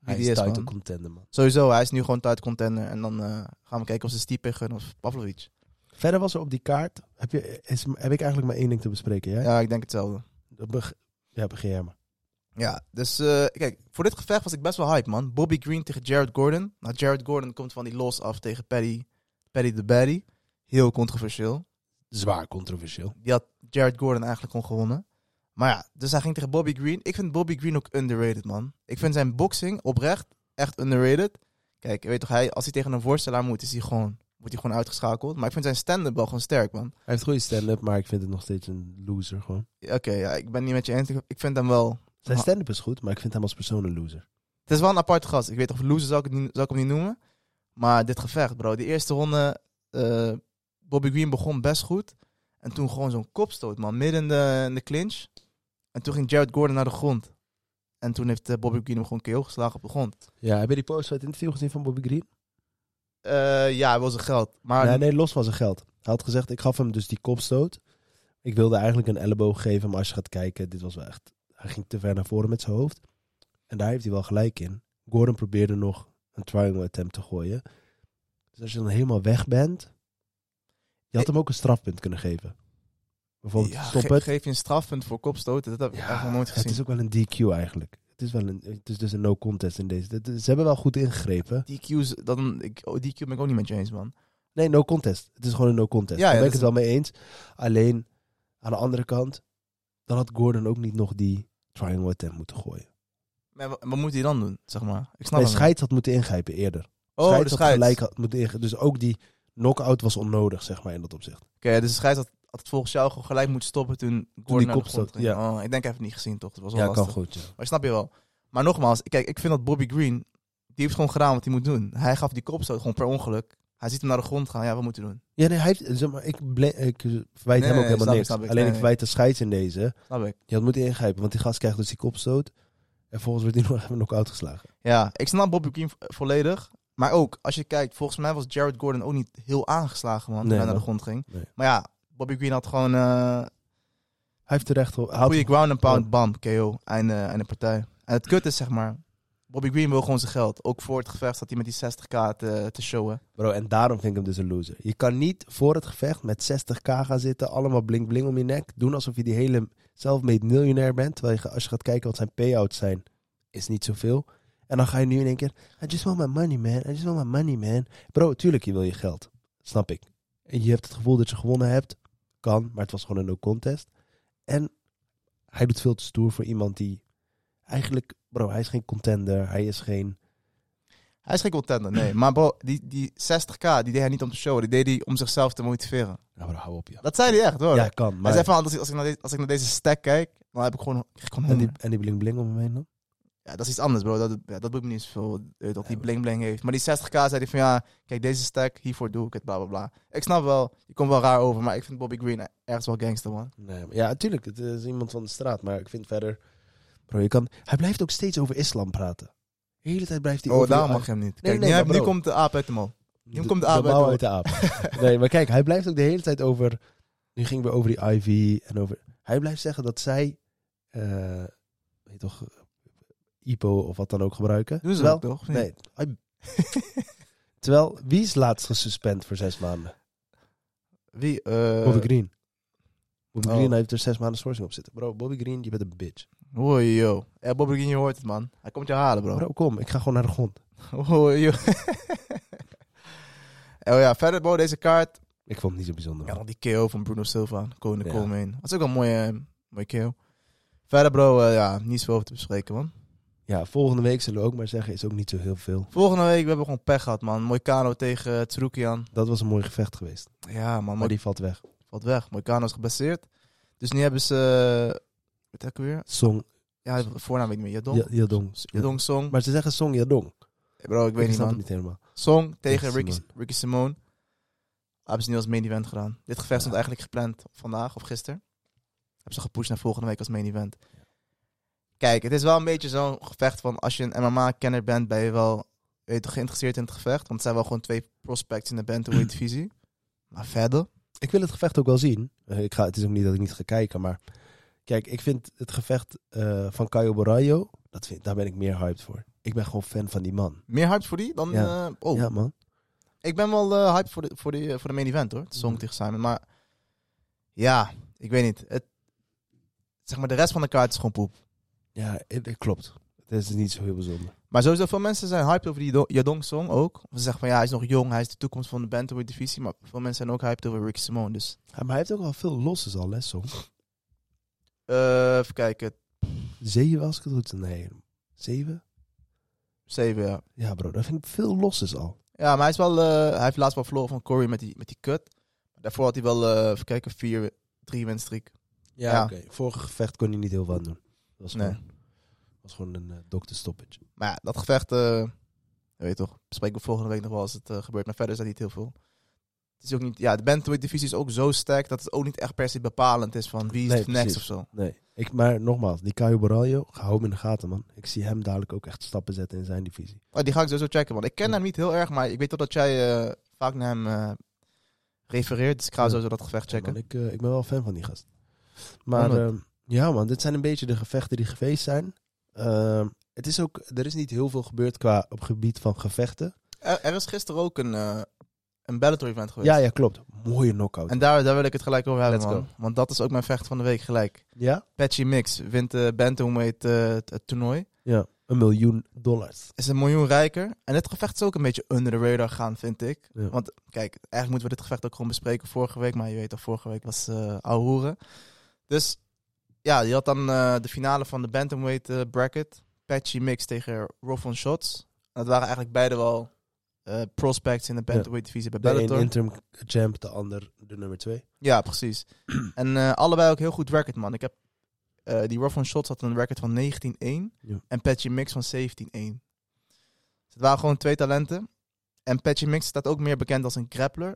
[SPEAKER 4] Hij
[SPEAKER 5] die
[SPEAKER 4] is
[SPEAKER 5] is,
[SPEAKER 4] title
[SPEAKER 5] man.
[SPEAKER 4] contender, man.
[SPEAKER 5] Sowieso, hij is nu gewoon title contender. En dan eh, gaan we kijken of ze Stipe gunnen of Pavlovic.
[SPEAKER 4] Verder was er op die kaart... Heb, je, is, heb ik eigenlijk maar één ding te bespreken, jij?
[SPEAKER 5] Ja, ik denk hetzelfde.
[SPEAKER 4] Dat beg- ja, begin jij maar.
[SPEAKER 5] Ja, dus eh, kijk, voor dit gevecht was ik best wel hype, man. Bobby Green tegen Jared Gordon. Nou, Jared Gordon komt van die los af tegen Paddy, Paddy de Baddy. Heel controversieel.
[SPEAKER 4] Zwaar controversieel.
[SPEAKER 5] Die had Jared Gordon eigenlijk gewoon gewonnen. Maar ja, dus hij ging tegen Bobby Green. Ik vind Bobby Green ook underrated, man. Ik vind zijn boxing oprecht echt underrated. Kijk, je weet toch, hij, als hij tegen een voorstellaar moet, is hij gewoon, wordt hij gewoon uitgeschakeld. Maar ik vind zijn stand-up wel gewoon sterk, man.
[SPEAKER 4] Hij heeft goede stand-up, maar ik vind het nog steeds een loser gewoon.
[SPEAKER 5] Ja, Oké, ja, ik ben niet met je eens. Ik- Ik vind hem wel...
[SPEAKER 4] Zijn
[SPEAKER 5] Ah.
[SPEAKER 4] stand-up is goed, maar ik vind hem als persoon een loser.
[SPEAKER 5] Het is wel een aparte gast. Ik weet toch, loser zou ik, het niet, zou ik hem niet noemen. Maar dit gevecht, bro. Die eerste ronde, eh, Bobby Green begon best goed. En toen gewoon zo'n kopstoot, man. Midden in de, in de clinch. En toen ging Jared Gordon naar de grond. En toen heeft eh, Bobby Green hem gewoon KO geslagen op de grond.
[SPEAKER 4] Ja, heb je die post uit het interview gezien van Bobby Green?
[SPEAKER 5] Eh, ja, hij wil zijn geld. Maar
[SPEAKER 4] nee, nee, los van zijn geld. Hij had gezegd, ik gaf hem dus die kopstoot. Ik wilde eigenlijk een elleboog geven, maar als je gaat kijken, dit was wel echt... Hij ging te ver naar voren met zijn hoofd. En daar heeft hij wel gelijk in. Gordon probeerde nog een triangle attempt te gooien. Dus als je dan helemaal weg bent... Je had hem ook een strafpunt kunnen geven. Bijvoorbeeld,
[SPEAKER 5] ja,
[SPEAKER 4] stop
[SPEAKER 5] ge-
[SPEAKER 4] het.
[SPEAKER 5] geef je een strafpunt voor kopstoten. Dat heb ik echt nog nooit gezien.
[SPEAKER 4] Het is ook wel een DQ eigenlijk. Het is, wel een, het is dus een no contest in deze. Het- Ze hebben wel goed ingegrepen.
[SPEAKER 5] DQ's, dan, ik, oh, DQ ben ik ook niet met je eens, man.
[SPEAKER 4] Nee, no contest. Het is gewoon een no contest.
[SPEAKER 5] Ja,
[SPEAKER 4] Daar
[SPEAKER 5] ja,
[SPEAKER 4] ben ik
[SPEAKER 5] dat
[SPEAKER 4] het wel mee eens. Alleen, aan de andere kant, dan had Gordon ook niet nog die triangle attempt moeten gooien.
[SPEAKER 5] Maar wa- wat, moet hij Nou, dan doen, zeg maar? Ik
[SPEAKER 4] Nee,
[SPEAKER 5] snap hem niet.
[SPEAKER 4] Scheids had moeten ingrijpen eerder.
[SPEAKER 5] Oh, de
[SPEAKER 4] Scheids had
[SPEAKER 5] scheids.
[SPEAKER 4] gelijk had moeten ingrijpen. Dus ook die knock-out was onnodig, zeg maar, in dat opzicht.
[SPEAKER 5] Oké, dus de scheids had, had het volgens jou gewoon gelijk moeten stoppen toen Gordon
[SPEAKER 4] die
[SPEAKER 5] naar de
[SPEAKER 4] kop
[SPEAKER 5] grond
[SPEAKER 4] stoot,
[SPEAKER 5] ging. Oh, ik denk even niet gezien, toch? Dat was wel
[SPEAKER 4] ja,
[SPEAKER 5] lastig.
[SPEAKER 4] kan goed, ja.
[SPEAKER 5] Maar snap je wel. Maar nogmaals, kijk, ik vind dat Bobby Green, die heeft gewoon gedaan wat hij moet doen. Hij gaf die kopstoot gewoon per ongeluk. Hij ziet hem naar de grond gaan. Ja, wat moet hij doen?
[SPEAKER 4] Ja, nee, hij heeft, zeg maar, ik, ble- ik verwijt
[SPEAKER 5] Nee,
[SPEAKER 4] hem ook
[SPEAKER 5] nee,
[SPEAKER 4] helemaal
[SPEAKER 5] snap ik,
[SPEAKER 4] niks.
[SPEAKER 5] snap ik.
[SPEAKER 4] Alleen
[SPEAKER 5] Nee,
[SPEAKER 4] ik
[SPEAKER 5] nee.
[SPEAKER 4] verwijt de scheids in deze.
[SPEAKER 5] Snap ik.
[SPEAKER 4] Je had moeten ingrijpen, want die gast krijgt dus die kopstoot. En volgens wordt hij nog even knock-out geslagen.
[SPEAKER 5] Ja, ik snap Bobby Green vo- volledig. Maar ook, als je kijkt, volgens mij was Jared Gordon ook niet heel aangeslagen, man, toen
[SPEAKER 4] Nee,
[SPEAKER 5] hij naar de
[SPEAKER 4] man.
[SPEAKER 5] grond ging.
[SPEAKER 4] Nee.
[SPEAKER 5] Maar ja, Bobby Green had gewoon eh
[SPEAKER 4] Hij heeft terecht... Hij had,
[SPEAKER 5] goede ground and pound,
[SPEAKER 4] Ja.
[SPEAKER 5] bam, KO, einde, einde partij. En het kut is, zeg maar, Bobby Green wil gewoon zijn geld. Ook voor het gevecht zat hij met die 60k te, te showen.
[SPEAKER 4] Bro, en daarom vind ik hem dus een loser. Je kan niet voor het gevecht met 60k gaan zitten, allemaal blink-bling om je nek. Doen alsof je die hele self-made miljonair bent. Terwijl je, ga- als je gaat kijken wat zijn payouts zijn, is niet zoveel. En dan ga je nu in één keer... I just want my money, man. I just want my money, man. Bro, tuurlijk, je wil je geld. Snap ik. En je hebt het gevoel dat je gewonnen hebt. Kan, maar het was gewoon een no-contest. En hij doet veel te stoer voor iemand die... Eigenlijk, bro, hij is geen contender. Hij is geen...
[SPEAKER 5] Hij is geen contender, nee. Maar bro, die, die 60k, die deed hij niet om te showen. Die deed hij om zichzelf te motiveren.
[SPEAKER 4] Nou, bro, hou op, ja.
[SPEAKER 5] Dat zei hij echt, hoor.
[SPEAKER 4] Ja, kan,
[SPEAKER 5] Hij
[SPEAKER 4] maar...
[SPEAKER 5] zei van, als ik, als, ik naar deze, als ik naar deze stack kijk, dan heb ik gewoon, krijg ik gewoon
[SPEAKER 4] En die,
[SPEAKER 5] honger.
[SPEAKER 4] en die bling-bling om hem heen dan?
[SPEAKER 5] Ja, dat is iets anders, bro. Dat, ja, dat doet me niet zoveel eh, dat hij bling-bling heeft. Maar die 60k zei hij van, ja, kijk, deze stack, hiervoor doe ik het, bla, bla, bla. Ik snap wel, je komt wel raar over, maar ik vind Bobby Green e-, ergens wel gangster, man.
[SPEAKER 4] Nee, maar- ja, natuurlijk. Het is iemand van de straat. Maar ik vind verder... Bro, je kan... Hij blijft ook steeds over islam praten. De hele tijd blijft hij
[SPEAKER 5] Oh,
[SPEAKER 4] over...
[SPEAKER 5] daarom mag je hem niet.
[SPEAKER 4] Nee,
[SPEAKER 5] Kijk,
[SPEAKER 4] nee,
[SPEAKER 5] nu,
[SPEAKER 4] maar
[SPEAKER 5] nu
[SPEAKER 4] bro.
[SPEAKER 5] komt de aap uit de man.
[SPEAKER 4] De-
[SPEAKER 5] komt de aap
[SPEAKER 4] mouw
[SPEAKER 5] uit
[SPEAKER 4] uit de aap. nee, maar kijk. Hij blijft ook de hele tijd over... Nu ging we over die IV en over... Hij blijft zeggen dat zij, eh weet je toch, IPO of wat dan ook gebruiken.
[SPEAKER 5] Doen ze
[SPEAKER 4] Terwijl-
[SPEAKER 5] wel, toch? Of niet?
[SPEAKER 4] Nee. Terwijl, wie is laatst gesuspend voor zes maanden?
[SPEAKER 5] Wie? eh,
[SPEAKER 4] Bobby Green. Bobby
[SPEAKER 5] oh.
[SPEAKER 4] Green heeft er zes maanden schorsing op zitten. Bro, Bobby Green, je bent een bitch.
[SPEAKER 5] Hoi, yo. Eh, Bobby Green, je hoort het, man. Hij komt je halen, bro.
[SPEAKER 4] Bro, kom, ik ga gewoon naar de grond.
[SPEAKER 5] Hoi, yo. oh ja, verder, bro, deze kaart.
[SPEAKER 4] Ik vond het niet zo bijzonder.
[SPEAKER 5] Ja,
[SPEAKER 4] man.
[SPEAKER 5] nog die KO van Bruno Silva. Koning de
[SPEAKER 4] Ja.
[SPEAKER 5] Colmeen. Dat is ook wel een mooie, eh, mooie KO. Verder, bro, eh, ja, niets over te bespreken, man.
[SPEAKER 4] Ja, volgende week zullen we ook maar zeggen, is ook niet zo heel veel.
[SPEAKER 5] Volgende week, we hebben gewoon pech gehad, man. Moicano tegen eh, Tsoukian.
[SPEAKER 4] Dat was een mooi gevecht geweest.
[SPEAKER 5] Ja, man,
[SPEAKER 4] Maar
[SPEAKER 5] Moicano
[SPEAKER 4] die valt weg.
[SPEAKER 5] valt weg. Moicano is geblesseerd. Dus nu hebben ze... eh, Wat heb ik weer?
[SPEAKER 4] Song
[SPEAKER 5] Ja, de voornaam weet ik niet meer. Jadong.
[SPEAKER 4] Ja- Yadong.
[SPEAKER 5] Jadong Song.
[SPEAKER 4] Maar ze zeggen Song Yadong.
[SPEAKER 5] Eh, Bro, ik weet niet,
[SPEAKER 4] snap
[SPEAKER 5] man.
[SPEAKER 4] het niet helemaal.
[SPEAKER 5] Song tegen
[SPEAKER 4] Ricky
[SPEAKER 5] Ricky, Ricky Simone. Hebben ze niet als main event gedaan. Dit gevecht stond eigenlijk gepland vandaag of gisteren. Hebben ze gepusht naar volgende week als main event. Kijk, het is wel een beetje zo'n gevecht van als je een MMA-kenner bent, ben je wel weet je, toch, geïnteresseerd in het gevecht. Want het zijn wel gewoon twee prospects in de bantamweight divisie. Maar verder,
[SPEAKER 4] Ik wil het gevecht ook wel zien. Eh, ik ga, het is ook niet dat ik niet ga kijken, maar... Kijk, ik vind het gevecht eh, van Caio Borrajo, dat vind, daar ben ik meer hyped voor. Ik ben gewoon fan van die man.
[SPEAKER 5] meer hype voor die dan...
[SPEAKER 4] Ja.
[SPEAKER 5] eh, oh,
[SPEAKER 4] Ja, man.
[SPEAKER 5] ik ben wel eh, hype voor de, voor, die, eh, voor de main event hoor. Song
[SPEAKER 4] Mhm.
[SPEAKER 5] tegen Simon. Maar ja, ik weet niet. Het, zeg maar, de rest van de kaart is gewoon poep.
[SPEAKER 4] Ja, eh, dat klopt. Het is niet zo heel bijzonder.
[SPEAKER 5] Maar sowieso, veel mensen zijn hyped over die Do- Yadong Song ook. Of Ze zeggen van ja, hij is nog jong, hij is de toekomst van de bantamweight divisie. Maar veel mensen zijn ook hyped over Ricky Simone. Dus
[SPEAKER 4] Ja, maar hij heeft ook al veel losses al, hè, Song?
[SPEAKER 5] eh, even kijken,
[SPEAKER 4] Zeven als ik het goed... Nee, zeven?
[SPEAKER 5] 7 ja.
[SPEAKER 4] Ja, bro, daar vind ik veel losses al.
[SPEAKER 5] Ja, maar hij, is wel, eh, hij heeft laatst wel verloren van Corey met die, met die cut. Daarvoor had hij wel, eh even kijken, 4, 3 winstreak.
[SPEAKER 4] Ja,
[SPEAKER 5] Ja.
[SPEAKER 4] oké. Vorige gevecht kon hij niet heel wat doen. Dat was
[SPEAKER 5] Nee.
[SPEAKER 4] gewoon, was gewoon een eh, dokterstoppage.
[SPEAKER 5] Maar ja, dat gevecht, eh, je weet toch, bespreken we volgende week nog wel als het eh, gebeurt. Maar verder is dat niet heel veel. Het is ook niet, ja, de bantamweight divisie is ook zo sterk dat het ook niet echt per se bepalend is van wie is
[SPEAKER 4] Nee,
[SPEAKER 5] het next
[SPEAKER 4] precies.
[SPEAKER 5] of zo.
[SPEAKER 4] Nee, ik, maar nogmaals, die Caio Borralho, hou hem in de gaten, man. Ik zie hem dadelijk ook echt stappen zetten in zijn divisie.
[SPEAKER 5] Oh, die ga ik sowieso checken, want ik ken hem niet heel erg, maar ik weet toch dat jij eh, vaak naar hem eh, refereert. Dus ik ga
[SPEAKER 4] Ja.
[SPEAKER 5] sowieso dat gevecht checken.
[SPEAKER 4] Man, ik, eh, ik ben wel fan van die gast. Maar
[SPEAKER 5] Honderd.
[SPEAKER 4] ehm, ja, man, dit zijn een beetje de gevechten die geweest zijn. Ehm, het is ook, er is niet heel veel gebeurd qua op gebied van gevechten.
[SPEAKER 5] er, er is gisteren ook een, eh een Bellator event geweest.
[SPEAKER 4] Ja, ja, klopt. Mooie knockout.
[SPEAKER 5] En daar, daar wil ik het gelijk over hebben,
[SPEAKER 4] Let's
[SPEAKER 5] man. Want dat is ook mijn vecht van de week gelijk.
[SPEAKER 4] ja?
[SPEAKER 5] Patchy Mix wint de Bantamweight eh, het, het toernooi.
[SPEAKER 4] Ja, een miljoen dollars.
[SPEAKER 5] Is een miljoen rijker. En dit gevecht is ook een beetje onder de radar gaan, vind ik.
[SPEAKER 4] Ja.
[SPEAKER 5] Want kijk, eigenlijk moeten we dit gevecht ook gewoon bespreken vorige week. Maar je weet al, vorige week was eh ouwe hoeren. Dus ja, je had dan eh, de finale van de bantamweight eh, bracket. Patchy Mix tegen Rovon Shots. En dat waren eigenlijk beide wel eh, prospects in de bantamweight divisie bij
[SPEAKER 4] De
[SPEAKER 5] Bellator.
[SPEAKER 4] een interim champ, de ander de nummer twee.
[SPEAKER 5] Ja, precies. en eh, allebei ook heel goed record, man. Ik heb, eh, die Rough on Shots had een record van 19-1
[SPEAKER 4] Ja.
[SPEAKER 5] en Patchy Mix van 17-1. Dus het waren gewoon twee talenten. En Patchy Mix staat ook meer bekend als een grappler.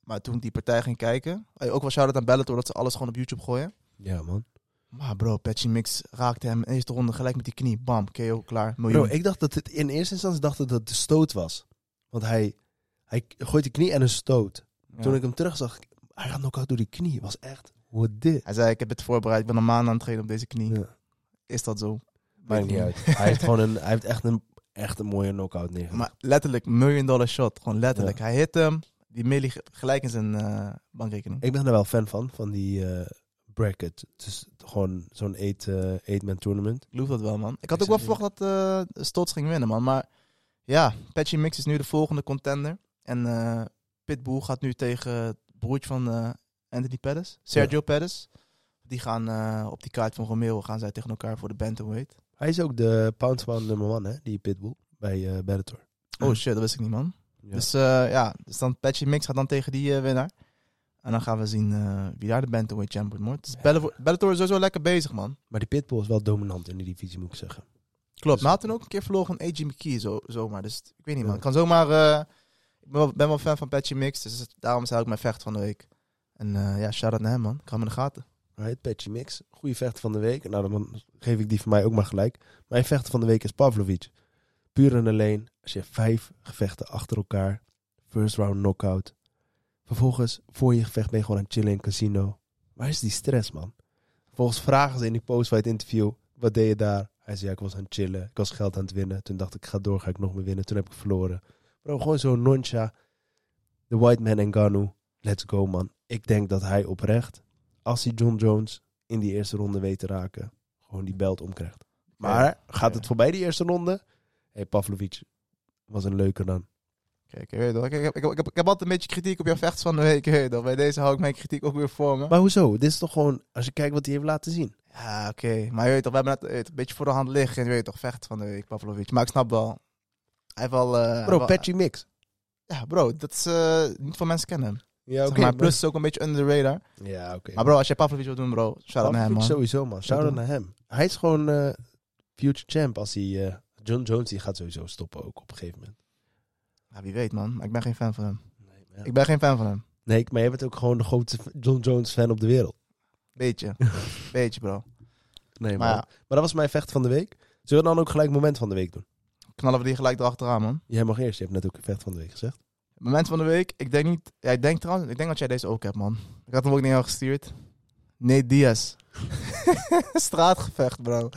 [SPEAKER 5] Maar toen ik die partij ging kijken, eh, ook wel shout-out aan Bellator dat ze alles gewoon op YouTube gooien.
[SPEAKER 4] Ja, man.
[SPEAKER 5] Maar bro, Patchy Mix raakte hem in de eerste ronde gelijk met die knie. Bam, KO, klaar, miljoen.
[SPEAKER 4] Bro, ik dacht dat het in eerste instantie dacht dat het de stoot was. Want hij, hij gooit de knie en een stoot.
[SPEAKER 5] Ja.
[SPEAKER 4] Toen ik hem terug zag, hij gaat knock-out door die knie. Was echt, what dit?
[SPEAKER 5] Hij zei, ik heb het voorbereid, ik ben een maand aan het trainen op deze knie.
[SPEAKER 4] Ja.
[SPEAKER 5] Is dat zo?
[SPEAKER 4] Maakt niet uit. Hij heeft gewoon een, hij heeft echt een, echt een mooie knockout neer.
[SPEAKER 5] Maar letterlijk, million dollar shot. Gewoon letterlijk.
[SPEAKER 4] Ja.
[SPEAKER 5] Hij hit hem, die milli ge- gelijk in zijn eh, bankrekening.
[SPEAKER 4] Ik ben er wel fan van, van die eh, bracket. Dus gewoon zo'n eight, eh, eight-man tournament.
[SPEAKER 5] Ik geloof dat wel, man. Ik had
[SPEAKER 4] Ik
[SPEAKER 5] ook
[SPEAKER 4] zeg
[SPEAKER 5] wel
[SPEAKER 4] je.
[SPEAKER 5] verwacht dat eh Stotts ging winnen, man. Maar ja, Patchy Mix is nu de volgende contender. En eh Pitbull gaat nu tegen het broertje van eh, Anthony Pettis, Sergio Pettis. Die gaan eh, op die kaart van Romeo gaan zij tegen elkaar voor de bantamweight.
[SPEAKER 4] Hij is ook de pound van nummer 1, hè? Die Pitbull, bij eh Bellator.
[SPEAKER 5] Oh shit, dat wist ik niet, man.
[SPEAKER 4] Ja.
[SPEAKER 5] Dus eh, ja, dus dan Patchy Mix gaat dan tegen die eh, winnaar. En dan gaan we zien eh, wie daar de bantamweight champion wordt. Dus Bellator, Bellator is sowieso lekker bezig, man.
[SPEAKER 4] Maar die Pitbull is wel dominant in die divisie, moet ik zeggen.
[SPEAKER 5] Klopt. Maar hij had toen ook een keer verloren van AJ McKee, zo, zomaar. Dus ik weet niet, man.
[SPEAKER 4] Ja.
[SPEAKER 5] Ik kan zomaar... eh, ik ben wel, ben wel fan van Patchy Mix, dus het- daarom zei ik mijn vecht van de week. En eh, ja, shout-out naar hem, man. Ik hou hem in de gaten.
[SPEAKER 4] Right, Patchy Mix. Goede vecht van de week. Nou, dan geef ik die van mij ook maar gelijk. Mijn vecht van de week is Pavlovic. Puur en alleen als je vijf gevechten achter elkaar, first round knockout, Vervolgens, voor je gevecht ben je gewoon aan het chillen in een casino. Waar is die stress, man? Vervolgens vragen ze in die post-fight interview, wat deed je daar? Hij zei, ja, ik was aan het chillen, ik was geld aan het winnen. Toen dacht ik, ik ga door, ga ik nog meer winnen. Toen heb ik verloren. Bro, gewoon zo noncha. The white man en Ganu. Let's go, man. Ik denk dat hij oprecht, als hij John Jones in die eerste ronde weet te raken, gewoon die belt omkrijgt. Maar gaat het voorbij die eerste ronde? hey, Pavlovic was een leuke dan.
[SPEAKER 5] Kijk, ik weet wel. Ik, ik, ik, ik, heb, ik heb altijd een beetje kritiek op jouw vechts van de week. Ik weet wel. Bij deze hou ik mijn kritiek ook weer voor me.
[SPEAKER 4] Maar hoezo? Dit is toch gewoon, als je kijkt wat hij heeft laten zien.
[SPEAKER 5] Ja, oké. Maar je weet toch, we hebben net je weet, een beetje voor de hand liggen. En je weet toch, vecht van de week, Pavlovic. Maar ik snap wel. Hij heeft wel... eh,
[SPEAKER 4] Bro,
[SPEAKER 5] wel-
[SPEAKER 4] Patchy Mix.
[SPEAKER 5] Ja, bro. Dat is eh, niet veel mensen kennen hem.
[SPEAKER 4] Ja,
[SPEAKER 5] Zeg maar plus is ook een beetje under the radar.
[SPEAKER 4] Ja, oké.
[SPEAKER 5] Maar bro, als jij Pavlovic wil doen, bro. Shout out naar hem,
[SPEAKER 4] Pavlovic
[SPEAKER 5] man.
[SPEAKER 4] sowieso, man. Shout out naar hem. Hij is gewoon eh, future champ als hij... eh, John Jones die gaat sowieso stoppen ook op een gegeven moment.
[SPEAKER 5] Ja, wie weet, man. Maar ik ben geen fan van hem.
[SPEAKER 4] Nee, maar, ja.
[SPEAKER 5] Ik ben geen fan van hem.
[SPEAKER 4] nee, ik- maar jij bent ook gewoon de grootste John Jones fan op de wereld.
[SPEAKER 5] Beetje. Beetje, bro.
[SPEAKER 4] Nee,
[SPEAKER 5] Maar
[SPEAKER 4] maar,
[SPEAKER 5] ja,
[SPEAKER 4] maar dat was mijn vecht van de week. Zullen we dan ook gelijk moment van de week doen?
[SPEAKER 5] knallen we die gelijk erachteraan, man.
[SPEAKER 4] Jij mag eerst. Je hebt net ook vecht van de week gezegd.
[SPEAKER 5] Moment van de week. Ik denk niet... Ja, ik denk trouwens... Ik denk dat jij deze ook hebt, man. Ik had hem ook niet aan jou gestuurd. Nee, Diaz. Straatgevecht, bro.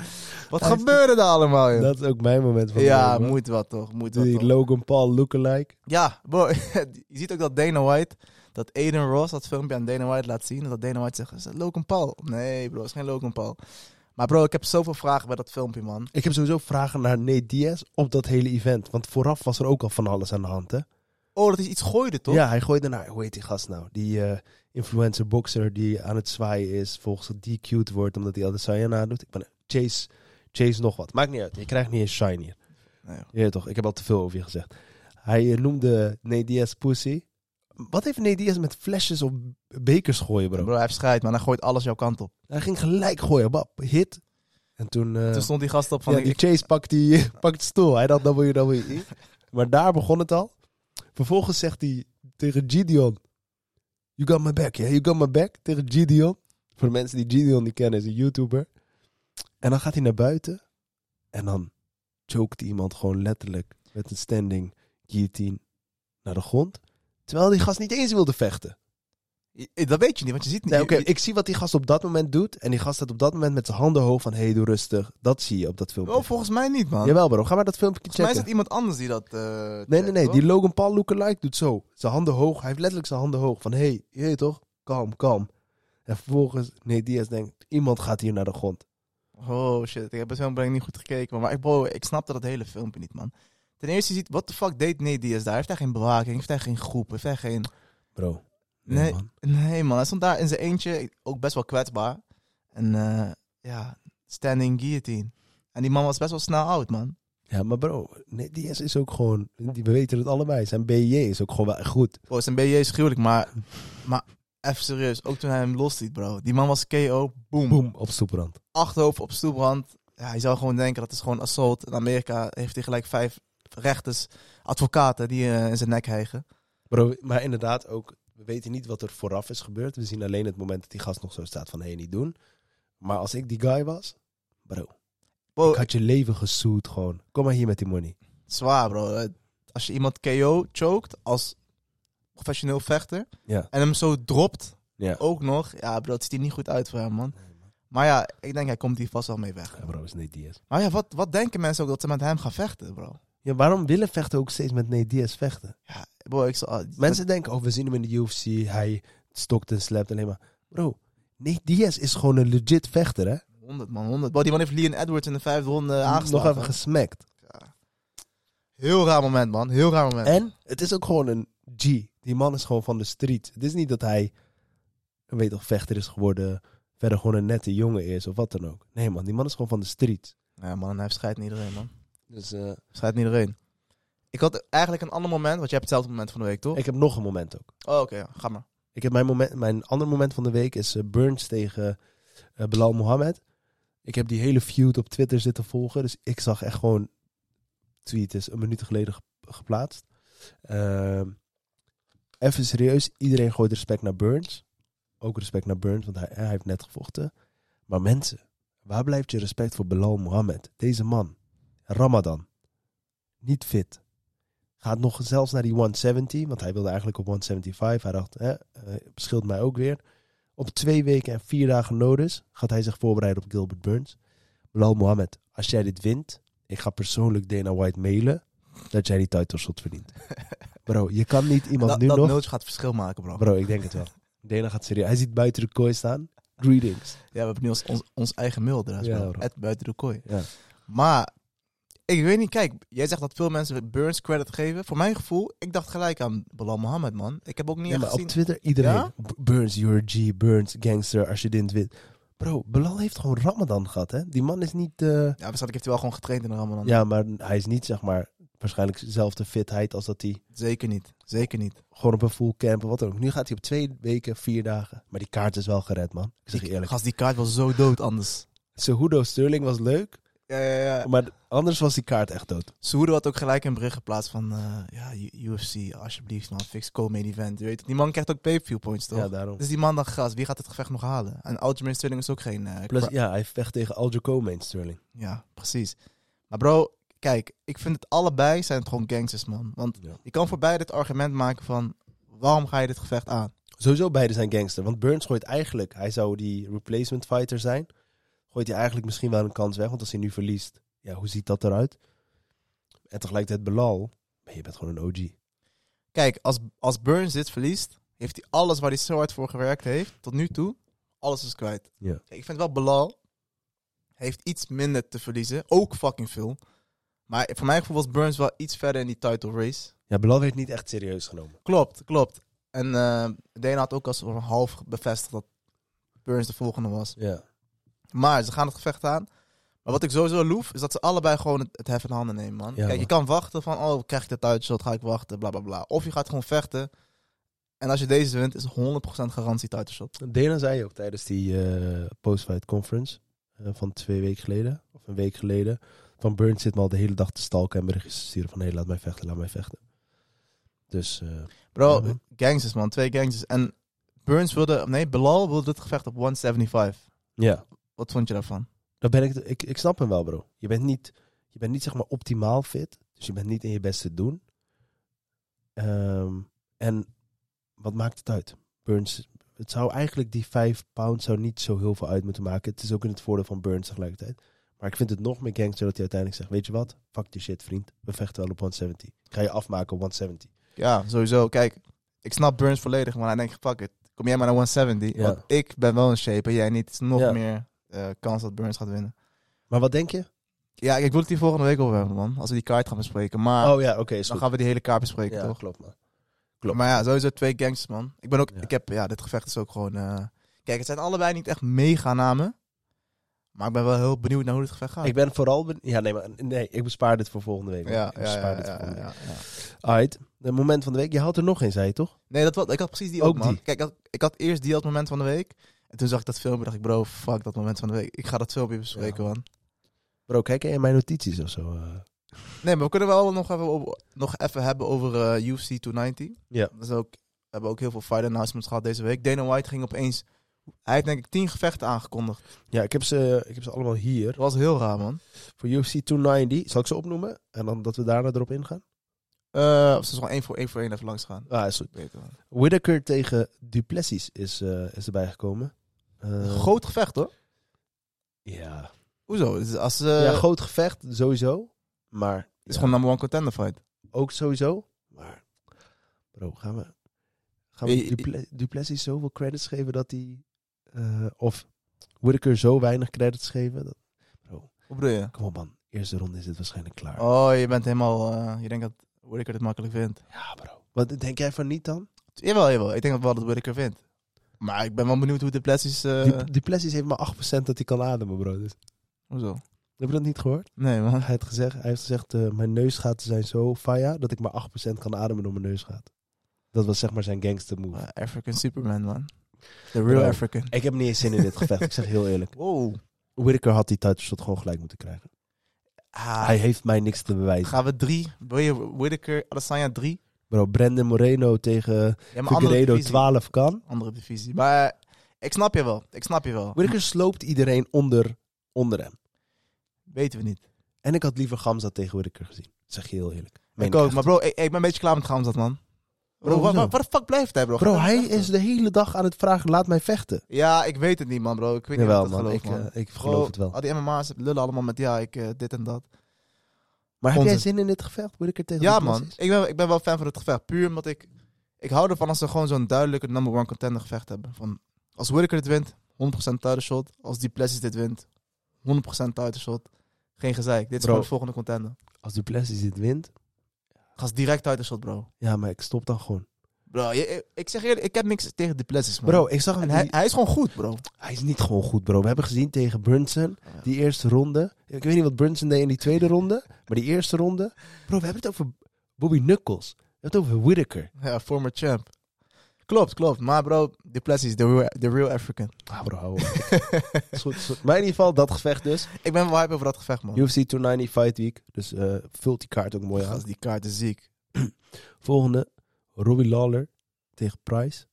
[SPEAKER 5] Wat
[SPEAKER 4] Hij-
[SPEAKER 5] gebeurde er allemaal, joh?
[SPEAKER 4] Dat is ook mijn moment van de week.
[SPEAKER 5] Ja,
[SPEAKER 4] man.
[SPEAKER 5] moet wat toch, moet wat
[SPEAKER 4] Die
[SPEAKER 5] toch.
[SPEAKER 4] Logan Paul lookalike.
[SPEAKER 5] Ja, bro, je ziet ook dat Dana White, dat Aiden Ross dat filmpje aan Dana White laat zien. En dat Dana White zegt, is dat Logan Paul? Nee bro, is geen Logan Paul. Maar bro, ik heb zoveel vragen bij dat filmpje, man.
[SPEAKER 4] Ik heb sowieso vragen naar Nate Diaz op dat hele event. Want vooraf was er ook al van alles aan de hand, hè?
[SPEAKER 5] Oh, dat is iets gooide, toch?
[SPEAKER 4] Ja, hij gooide naar... Hoe heet die gast nou? Die eh, influencer-boxer die aan het zwaaien is. Volgens die cute wordt omdat hij al de Sayana doet. Ik ben Chase, Chase nog wat. Maakt niet uit. Je krijgt niet eens shine hier.
[SPEAKER 5] Nee.
[SPEAKER 4] Je weet toch, ik heb al te veel over je gezegd. Hij eh, noemde Nate Diaz pussy. Wat heeft Nate Diaz met flesjes op bekers gooien, bro?
[SPEAKER 5] Bro, hij heeft scheid, man. Hij gooit alles jouw kant op.
[SPEAKER 4] Hij ging gelijk gooien. Bap, hit. En toen... eh,
[SPEAKER 5] Toen stond die gast op van...
[SPEAKER 4] ja, die Chase pakt, die, pakt de stoel. Hij dacht WWE. maar daar begon het al. Vervolgens zegt hij tegen Gideon... You got my back, yeah? You got my back? Tegen Gideon. Voor de mensen die Gideon niet kennen, is een YouTuber. En dan gaat hij naar buiten. En dan choked hij iemand gewoon letterlijk met een standing guillotine naar de grond. Terwijl die gast niet eens wilde vechten.
[SPEAKER 5] I- Dat weet je niet, want je ziet niet.
[SPEAKER 4] Nee, oké,
[SPEAKER 5] Je- je-
[SPEAKER 4] ik zie wat die gast op dat moment doet. En die gast staat op dat moment met zijn handen hoog van... Hé, hey, doe rustig. Dat zie je op dat filmpje.
[SPEAKER 5] Oh, volgens mij niet, man.
[SPEAKER 4] Jawel bro, ga maar dat filmpje
[SPEAKER 5] volgens mij
[SPEAKER 4] checken.
[SPEAKER 5] is het iemand anders die dat... eh,
[SPEAKER 4] Nee, nee,
[SPEAKER 5] checkt,
[SPEAKER 4] nee.
[SPEAKER 5] hoor.
[SPEAKER 4] Die Logan Paul lookalike doet zo. Zijn handen hoog. Hij heeft letterlijk zijn handen hoog. Van, hé, hey, je weet toch? Kalm, kalm. En vervolgens, nee, Diaz denkt, iemand gaat hier naar de grond.
[SPEAKER 5] Oh shit, ik heb het filmpje niet goed gekeken. man. Maar ik, bro, ik snapte dat hele filmpje niet, man. Ten eerste, je ziet, what the fuck deed Nate Diaz daar? Heeft hij geen bewaking? Heeft hij geen groep? Heeft hij geen...
[SPEAKER 4] Bro.
[SPEAKER 5] Nee, nee, man.
[SPEAKER 4] man.
[SPEAKER 5] Hij stond daar in zijn eentje, ook best wel kwetsbaar. En eh, ja, standing guillotine. En die man was best wel snel oud, man.
[SPEAKER 4] Ja, maar bro, nee, Diaz is ook gewoon... Die, we weten het allebei. Zijn BJ is ook gewoon wel echt goed.
[SPEAKER 5] Bro, zijn BJ is gruwelijk, maar, maar even serieus. Ook toen hij hem losliet, bro. Die man was KO, boom.
[SPEAKER 4] Boom, op stoeprand.
[SPEAKER 5] Achterhoofd op stoelbrand. Ja, je zou gewoon denken, dat is gewoon assault. In Amerika heeft hij gelijk vijf rechters, advocaten, die eh, in zijn nek hijgen.
[SPEAKER 4] Bro, maar inderdaad ook... We weten niet wat er vooraf is gebeurd. We zien alleen het moment dat die gast nog zo staat van... Hé, hey, niet doen. Maar als ik die guy was... Bro,
[SPEAKER 5] Bro,
[SPEAKER 4] ik had je leven gesoet gewoon. Kom maar hier met die money.
[SPEAKER 5] zwaar, bro. Eh, Als je iemand KO chokt als professioneel vechter
[SPEAKER 4] Ja.
[SPEAKER 5] en hem zo dropt,
[SPEAKER 4] Ja.
[SPEAKER 5] ook nog. Ja, bro, het ziet er niet goed uit voor hem, man. Maar ja, ik denk, hij komt hier vast wel mee weg.
[SPEAKER 4] Ja, bro, is nee Diaz.
[SPEAKER 5] Maar ja, wat, wat denken mensen ook dat ze met hem gaan vechten, bro?
[SPEAKER 4] Ja, waarom willen vechten ook steeds met Nate Diaz vechten?
[SPEAKER 5] Ja, bro, ik ah, zal...
[SPEAKER 4] Mensen denken, oh, we zien hem in de UFC. Hij stokt en slapt alleen maar. Bro, Nate Diaz is gewoon een legit vechter, hè?
[SPEAKER 5] 100, man, 100. Bro, die man heeft Leon Edwards in de vijfde ronde
[SPEAKER 4] Nog
[SPEAKER 5] aangeslagen.
[SPEAKER 4] even gesmakt.
[SPEAKER 5] Heel raar moment, man. Heel raar moment.
[SPEAKER 4] En het is ook gewoon een G. Die man is gewoon van de street. Het is niet dat hij, weet toch, vechter is geworden. Verder gewoon een nette jongen is of wat dan ook. Nee, man, die man is gewoon van de street.
[SPEAKER 5] Ja, man, hij heeft scheidt niet iedereen, man.
[SPEAKER 4] Dus eh,
[SPEAKER 5] Scheidt niet iedereen. Ik had eigenlijk een ander moment, want jij hebt hetzelfde moment van de week, toch?
[SPEAKER 4] ik heb nog een moment ook.
[SPEAKER 5] Oh, oké, ja, ga maar.
[SPEAKER 4] Ik heb mijn, moment, mijn ander moment van de week is eh, Burns tegen eh, Belal Mohammed. Ik heb die hele feud op Twitter zitten volgen. Dus ik zag echt gewoon tweet is een minuut geleden ge- geplaatst. Ehm, even serieus, iedereen gooit respect naar Burns. Ook respect naar Burns, want hij, hij heeft net gevochten. Maar mensen, waar blijft je respect voor Belal Mohammed? Deze man, Ramadan, niet fit. Gaat nog zelfs naar die 170, want hij wilde eigenlijk op 175. Hij dacht, hè, eh, scheelt mij ook weer. Op twee weken en vier dagen notice gaat hij zich voorbereiden op Gilbert Burns. Bilal Mohammed, als jij dit wint, ik ga persoonlijk Dana White mailen dat jij die title shot verdient. Bro, je kan niet iemand
[SPEAKER 5] dat
[SPEAKER 4] nu
[SPEAKER 5] dat
[SPEAKER 4] nog...
[SPEAKER 5] nultje gaat verschil maken, bro.
[SPEAKER 4] Bro, ik denk het wel. Dana gaat serieus. Hij ziet buiten de kooi staan. Greetings.
[SPEAKER 5] Ja, we hebben nu ons, ons, ons eigen mailadres,
[SPEAKER 4] Ja,
[SPEAKER 5] bro.
[SPEAKER 4] bro.
[SPEAKER 5] Ed buiten de kooi.
[SPEAKER 4] Ja.
[SPEAKER 5] Maar, ik weet niet, kijk, jij zegt dat veel mensen Burns credit geven. Voor mijn gevoel, ik dacht gelijk aan Bilal Mohammed, man. Ik heb ook niet
[SPEAKER 4] Ja,
[SPEAKER 5] echt
[SPEAKER 4] maar op
[SPEAKER 5] gezien...
[SPEAKER 4] Twitter iedereen.
[SPEAKER 5] Ja?
[SPEAKER 4] B- Burns, you're a G. Burns, gangster, als je dit wint. Bro, Belal heeft gewoon Ramadan gehad, hè? Die man is niet... eh,
[SPEAKER 5] Ja, waarschijnlijk heeft hij wel gewoon getraind in de Ramadan.
[SPEAKER 4] Ja, maar hij is niet, zeg maar, waarschijnlijk dezelfde fitheid als dat hij
[SPEAKER 5] Zeker niet, zeker niet.
[SPEAKER 4] gewoon op een full camp en wat dan ook. Nu gaat hij op twee weken, vier dagen. Maar die kaart is wel gered, man. Ik zeg je eerlijk.
[SPEAKER 5] Gast, die kaart was zo dood anders.
[SPEAKER 4] Cejudo Sterling was leuk,
[SPEAKER 5] Ja, ja, ja.
[SPEAKER 4] maar anders was die kaart echt dood.
[SPEAKER 5] Cejudo had ook gelijk een bericht geplaatst van... eh, ja, U- UFC, alsjeblieft, man. Fix co-main event. Je weet, het. die man krijgt ook pay-per-view points, toch?
[SPEAKER 4] Ja, daarom.
[SPEAKER 5] Dus die man dacht, gast, wie gaat het gevecht nog halen? En Aljamain Sterling is ook geen... eh,
[SPEAKER 4] Plus,
[SPEAKER 5] cra-
[SPEAKER 4] ja, hij vecht tegen Aljo Coleman, Sterling.
[SPEAKER 5] Ja, precies. Maar bro, kijk, ik vind het allebei zijn het gewoon gangsters, man. Want
[SPEAKER 4] Ja.
[SPEAKER 5] je kan voor beide het argument maken van... waarom ga je dit gevecht aan?
[SPEAKER 4] Sowieso beide zijn gangster. Want Burns gooit eigenlijk, hij zou die replacement fighter zijn. Gooit hij eigenlijk misschien wel een kans weg. Want als hij nu verliest, ja, hoe ziet dat eruit? En tegelijkertijd Belal, maar je bent gewoon een OG.
[SPEAKER 5] Kijk, als, als Burns dit verliest... heeft hij alles waar hij zo hard voor gewerkt heeft... tot nu toe, alles is kwijt.
[SPEAKER 4] Ja.
[SPEAKER 5] Ik vind wel Belal... heeft iets minder te verliezen. Ook fucking veel. Maar voor mijn gevoel was Burns wel iets verder in die title race.
[SPEAKER 4] Ja, Belal werd niet echt serieus genomen.
[SPEAKER 5] Klopt, klopt. En eh Dana had ook als een half bevestigd dat Burns de volgende was.
[SPEAKER 4] Ja.
[SPEAKER 5] Maar ze gaan het gevecht aan. Maar wat ik sowieso loef, is dat ze allebei gewoon het, het hef in handen nemen, man.
[SPEAKER 4] Ja,
[SPEAKER 5] Kijk,
[SPEAKER 4] man.
[SPEAKER 5] je kan wachten van, oh, krijg ik dat uitshot, ga ik wachten, bla bla bla. Of je gaat gewoon vechten. En als je deze wint, is 100% garantie titleshot.
[SPEAKER 4] Dana zei ook tijdens die eh, post-fight conference eh, van twee weken geleden, of een week geleden, van Burns zit me al de hele dag te stalken en berichtjes te sturen van hé, laat mij vechten, laat mij vechten. Dus eh,
[SPEAKER 5] Bro,
[SPEAKER 4] Ja, man.
[SPEAKER 5] gangsters, man. Twee gangsters. En Burns wilde, nee, Belal wilde dit gevecht op 175.
[SPEAKER 4] ja,
[SPEAKER 5] Wat vond je daarvan?
[SPEAKER 4] dan ben ik, het- ik, ik snap hem wel bro. Je bent niet, je bent niet zeg maar optimaal fit, dus je bent niet in je beste doen. Ehm, en wat maakt het uit? Burns, het zou eigenlijk die vijf pound zou niet zo heel veel uit moeten maken. Het is ook in het voordeel van Burns tegelijkertijd. Maar ik vind het nog meer gangster dat hij uiteindelijk zegt, weet je wat? Fuck die shit vriend, we vechten wel op 170. Ik ga je afmaken op 170.
[SPEAKER 5] Ja, sowieso. Kijk, ik snap Burns volledig, maar hij denkt, fuck it. Kom jij maar naar 170.
[SPEAKER 4] Ja.
[SPEAKER 5] Want ik ben wel in shape en jij niet. Het is nog
[SPEAKER 4] Ja.
[SPEAKER 5] meer eh, kans dat Burns gaat winnen.
[SPEAKER 4] Maar wat denk je?
[SPEAKER 5] Ja, ik wil het hier volgende week over hebben, man. Als we die kaart gaan bespreken. Maar
[SPEAKER 4] oh ja, oké, is
[SPEAKER 5] Ah. dan
[SPEAKER 4] goed.
[SPEAKER 5] gaan we die hele kaart bespreken,
[SPEAKER 4] ja,
[SPEAKER 5] toch?
[SPEAKER 4] klopt man.
[SPEAKER 5] Maar ja, sowieso twee gangsters, man. Ik ben ook...
[SPEAKER 4] Ja.
[SPEAKER 5] Ik heb... Ja, dit gevecht is ook gewoon... eh, Kijk, het zijn allebei niet echt mega namen. Maar ik ben wel heel benieuwd naar hoe dit gevecht gaat.
[SPEAKER 4] Ik ben vooral... ben- ja, nee, maar, nee, ik bespaar dit voor volgende week. man.
[SPEAKER 5] ja,
[SPEAKER 4] ik
[SPEAKER 5] ja, ja,
[SPEAKER 4] bespaar
[SPEAKER 5] ja,
[SPEAKER 4] dit voor volgende
[SPEAKER 5] ja,
[SPEAKER 4] week.
[SPEAKER 5] ja, ja.
[SPEAKER 4] Alright, het moment van de week. Je houdt er nog een, zei je toch?
[SPEAKER 5] Nee, dat was, ik had precies die ook,
[SPEAKER 4] Ook
[SPEAKER 5] man.
[SPEAKER 4] die.
[SPEAKER 5] Kijk, dat- ik had eerst die als moment van de week. En toen zag ik dat filmpje dacht ik, bro, fuck dat moment van de week. Ik ga dat filmpje bespreken, man.
[SPEAKER 4] Bro, kijk jij in mijn notities of zo? eh?
[SPEAKER 5] Nee, maar we kunnen wel nog even, op- nog even hebben over eh UFC 290.
[SPEAKER 4] Ja.
[SPEAKER 5] Dat is ook, we hebben ook heel veel fight announcements gehad deze week. Dana White ging opeens... Hij heeft denk ik tien gevechten aangekondigd.
[SPEAKER 4] Ja, ik heb, ze, ik heb ze allemaal hier.
[SPEAKER 5] Dat was heel raar, man.
[SPEAKER 4] Voor UFC 290. Zal ik ze opnoemen? En dan dat we daarna erop ingaan?
[SPEAKER 5] Eh, of ze is gewoon één voor één voor één even langs gaan.
[SPEAKER 4] Ah, is goed.
[SPEAKER 5] Beter, man.
[SPEAKER 4] Whittaker tegen Duplessis is, eh, is erbij gekomen. Eh,
[SPEAKER 5] Groot gevecht, hoor.
[SPEAKER 4] Ja.
[SPEAKER 5] Hoezo? Het is, als, eh,
[SPEAKER 4] ja, groot gevecht, sowieso. Maar
[SPEAKER 5] het is gewoon number one contender fight.
[SPEAKER 4] ook sowieso. Maar, bro, gaan we, gaan
[SPEAKER 5] Eh,
[SPEAKER 4] we
[SPEAKER 5] eh,
[SPEAKER 4] Duple- Duplessis zoveel credits geven dat hij... eh, of Whittaker zo weinig credits geven? Dat, bro,
[SPEAKER 5] Hoe bedoel je?
[SPEAKER 4] kom op man. Eerste ronde is dit waarschijnlijk klaar.
[SPEAKER 5] Oh, je bent helemaal... eh, je denkt dat Whittaker dit makkelijk vindt.
[SPEAKER 4] Ja, bro. Wat denk jij van niet dan?
[SPEAKER 5] Jawel, jawel. Ik denk dat wel dat Whittaker vindt. Maar ik ben wel benieuwd hoe de Plessis... eh,
[SPEAKER 4] Die Duplessis heeft maar 8% dat hij kan ademen, bro. Dus,
[SPEAKER 5] Hoezo?
[SPEAKER 4] heb je dat niet gehoord?
[SPEAKER 5] Nee, man.
[SPEAKER 4] Hij heeft gezegd, hij heeft gezegd eh, mijn neusgaten zijn zo faya dat ik maar 8% kan ademen door mijn neusgaten. Dat was zeg maar zijn gangster move.
[SPEAKER 5] Eh, African Superman, man. The real
[SPEAKER 4] Bro.
[SPEAKER 5] African.
[SPEAKER 4] Ik heb niet eens zin in dit gevecht, ik zeg heel eerlijk.
[SPEAKER 5] Wow.
[SPEAKER 4] Whittaker had die titleshot gewoon gelijk moeten krijgen.
[SPEAKER 5] Ah,
[SPEAKER 4] Hij heeft mij niks te bewijzen.
[SPEAKER 5] gaan we drie? Wil je Whittaker, Adesanya drie?
[SPEAKER 4] Bro, Brandon Moreno tegen
[SPEAKER 5] Ja, maar andere
[SPEAKER 4] Figueiredo
[SPEAKER 5] divisie.
[SPEAKER 4] 12 kan.
[SPEAKER 5] Andere divisie. Maar eh, ik snap je wel. Ik snap je wel.
[SPEAKER 4] Whittaker sloopt iedereen onder, onder hem.
[SPEAKER 5] Weten we niet.
[SPEAKER 4] En ik had liever Gamza tegen Whittaker gezien. Zeg je heel eerlijk. Meen
[SPEAKER 5] ik ook,
[SPEAKER 4] echt.
[SPEAKER 5] maar bro, ik, ik ben een beetje klaar met Gamzat, man. Bro,
[SPEAKER 4] Bro,
[SPEAKER 5] wa- wa-
[SPEAKER 4] hoezo?
[SPEAKER 5] waar, de fuck blijft hij, bro?
[SPEAKER 4] Bro,
[SPEAKER 5] Ga-
[SPEAKER 4] hij is de hele dag aan het vragen, laat mij vechten.
[SPEAKER 5] Ja, ik weet het niet, man, bro. Ik weet niet
[SPEAKER 4] Jawel,
[SPEAKER 5] of ik dat
[SPEAKER 4] man.
[SPEAKER 5] geloof,
[SPEAKER 4] Ik,
[SPEAKER 5] man.
[SPEAKER 4] eh, ik
[SPEAKER 5] Bro,
[SPEAKER 4] geloof het wel.
[SPEAKER 5] Al die MMA's lullen allemaal met, ja, ik eh, dit en dat.
[SPEAKER 4] Maar heb jij
[SPEAKER 5] onzin.
[SPEAKER 4] zin in dit gevecht? Whittaker tegen
[SPEAKER 5] Ja,
[SPEAKER 4] Nicolas
[SPEAKER 5] man.
[SPEAKER 4] is?
[SPEAKER 5] Ik ben, ik ben wel fan van het gevecht. Puur omdat ik... Ik hou ervan als ze gewoon zo'n duidelijke number one contender gevecht hebben. Van, als Whittaker dit wint, 100% title shot. Als Duplessis dit wint, 100% title shot. Geen gezeik. Dit is
[SPEAKER 4] Bro.
[SPEAKER 5] gewoon de volgende contender.
[SPEAKER 4] Als Duplessis dit wint,
[SPEAKER 5] Gast direct title shot, bro.
[SPEAKER 4] ja, maar ik stop dan gewoon.
[SPEAKER 5] Bro, je- ik zeg eerlijk, ik heb niks tegen Duplessis, man.
[SPEAKER 4] Bro, ik zag hem.
[SPEAKER 5] en
[SPEAKER 4] die-
[SPEAKER 5] hij,
[SPEAKER 4] hij,
[SPEAKER 5] hij is gewoon goed, bro.
[SPEAKER 4] is niet gewoon goed, bro. We hebben gezien tegen Brunson, die eerste ronde. Ik weet niet wat Brunson deed in die tweede ronde, maar die eerste ronde. Bro, we hebben het over Bobby Knuckles. We hebben het over Whittaker.
[SPEAKER 5] Ja, former champ. Klopt, klopt. Maar bro, Duplessis, the real, the real African.
[SPEAKER 4] Ah, bro, hou op. Is goed, is goed. Maar in ieder geval, dat gevecht dus.
[SPEAKER 5] ik ben wel hype over dat gevecht, man.
[SPEAKER 4] UFC 290 Fight Week. Dus eh, vult die kaart ook mooi aan.
[SPEAKER 5] Gast, die kaart is ziek.
[SPEAKER 4] Volgende, Robbie Lawler tegen Price.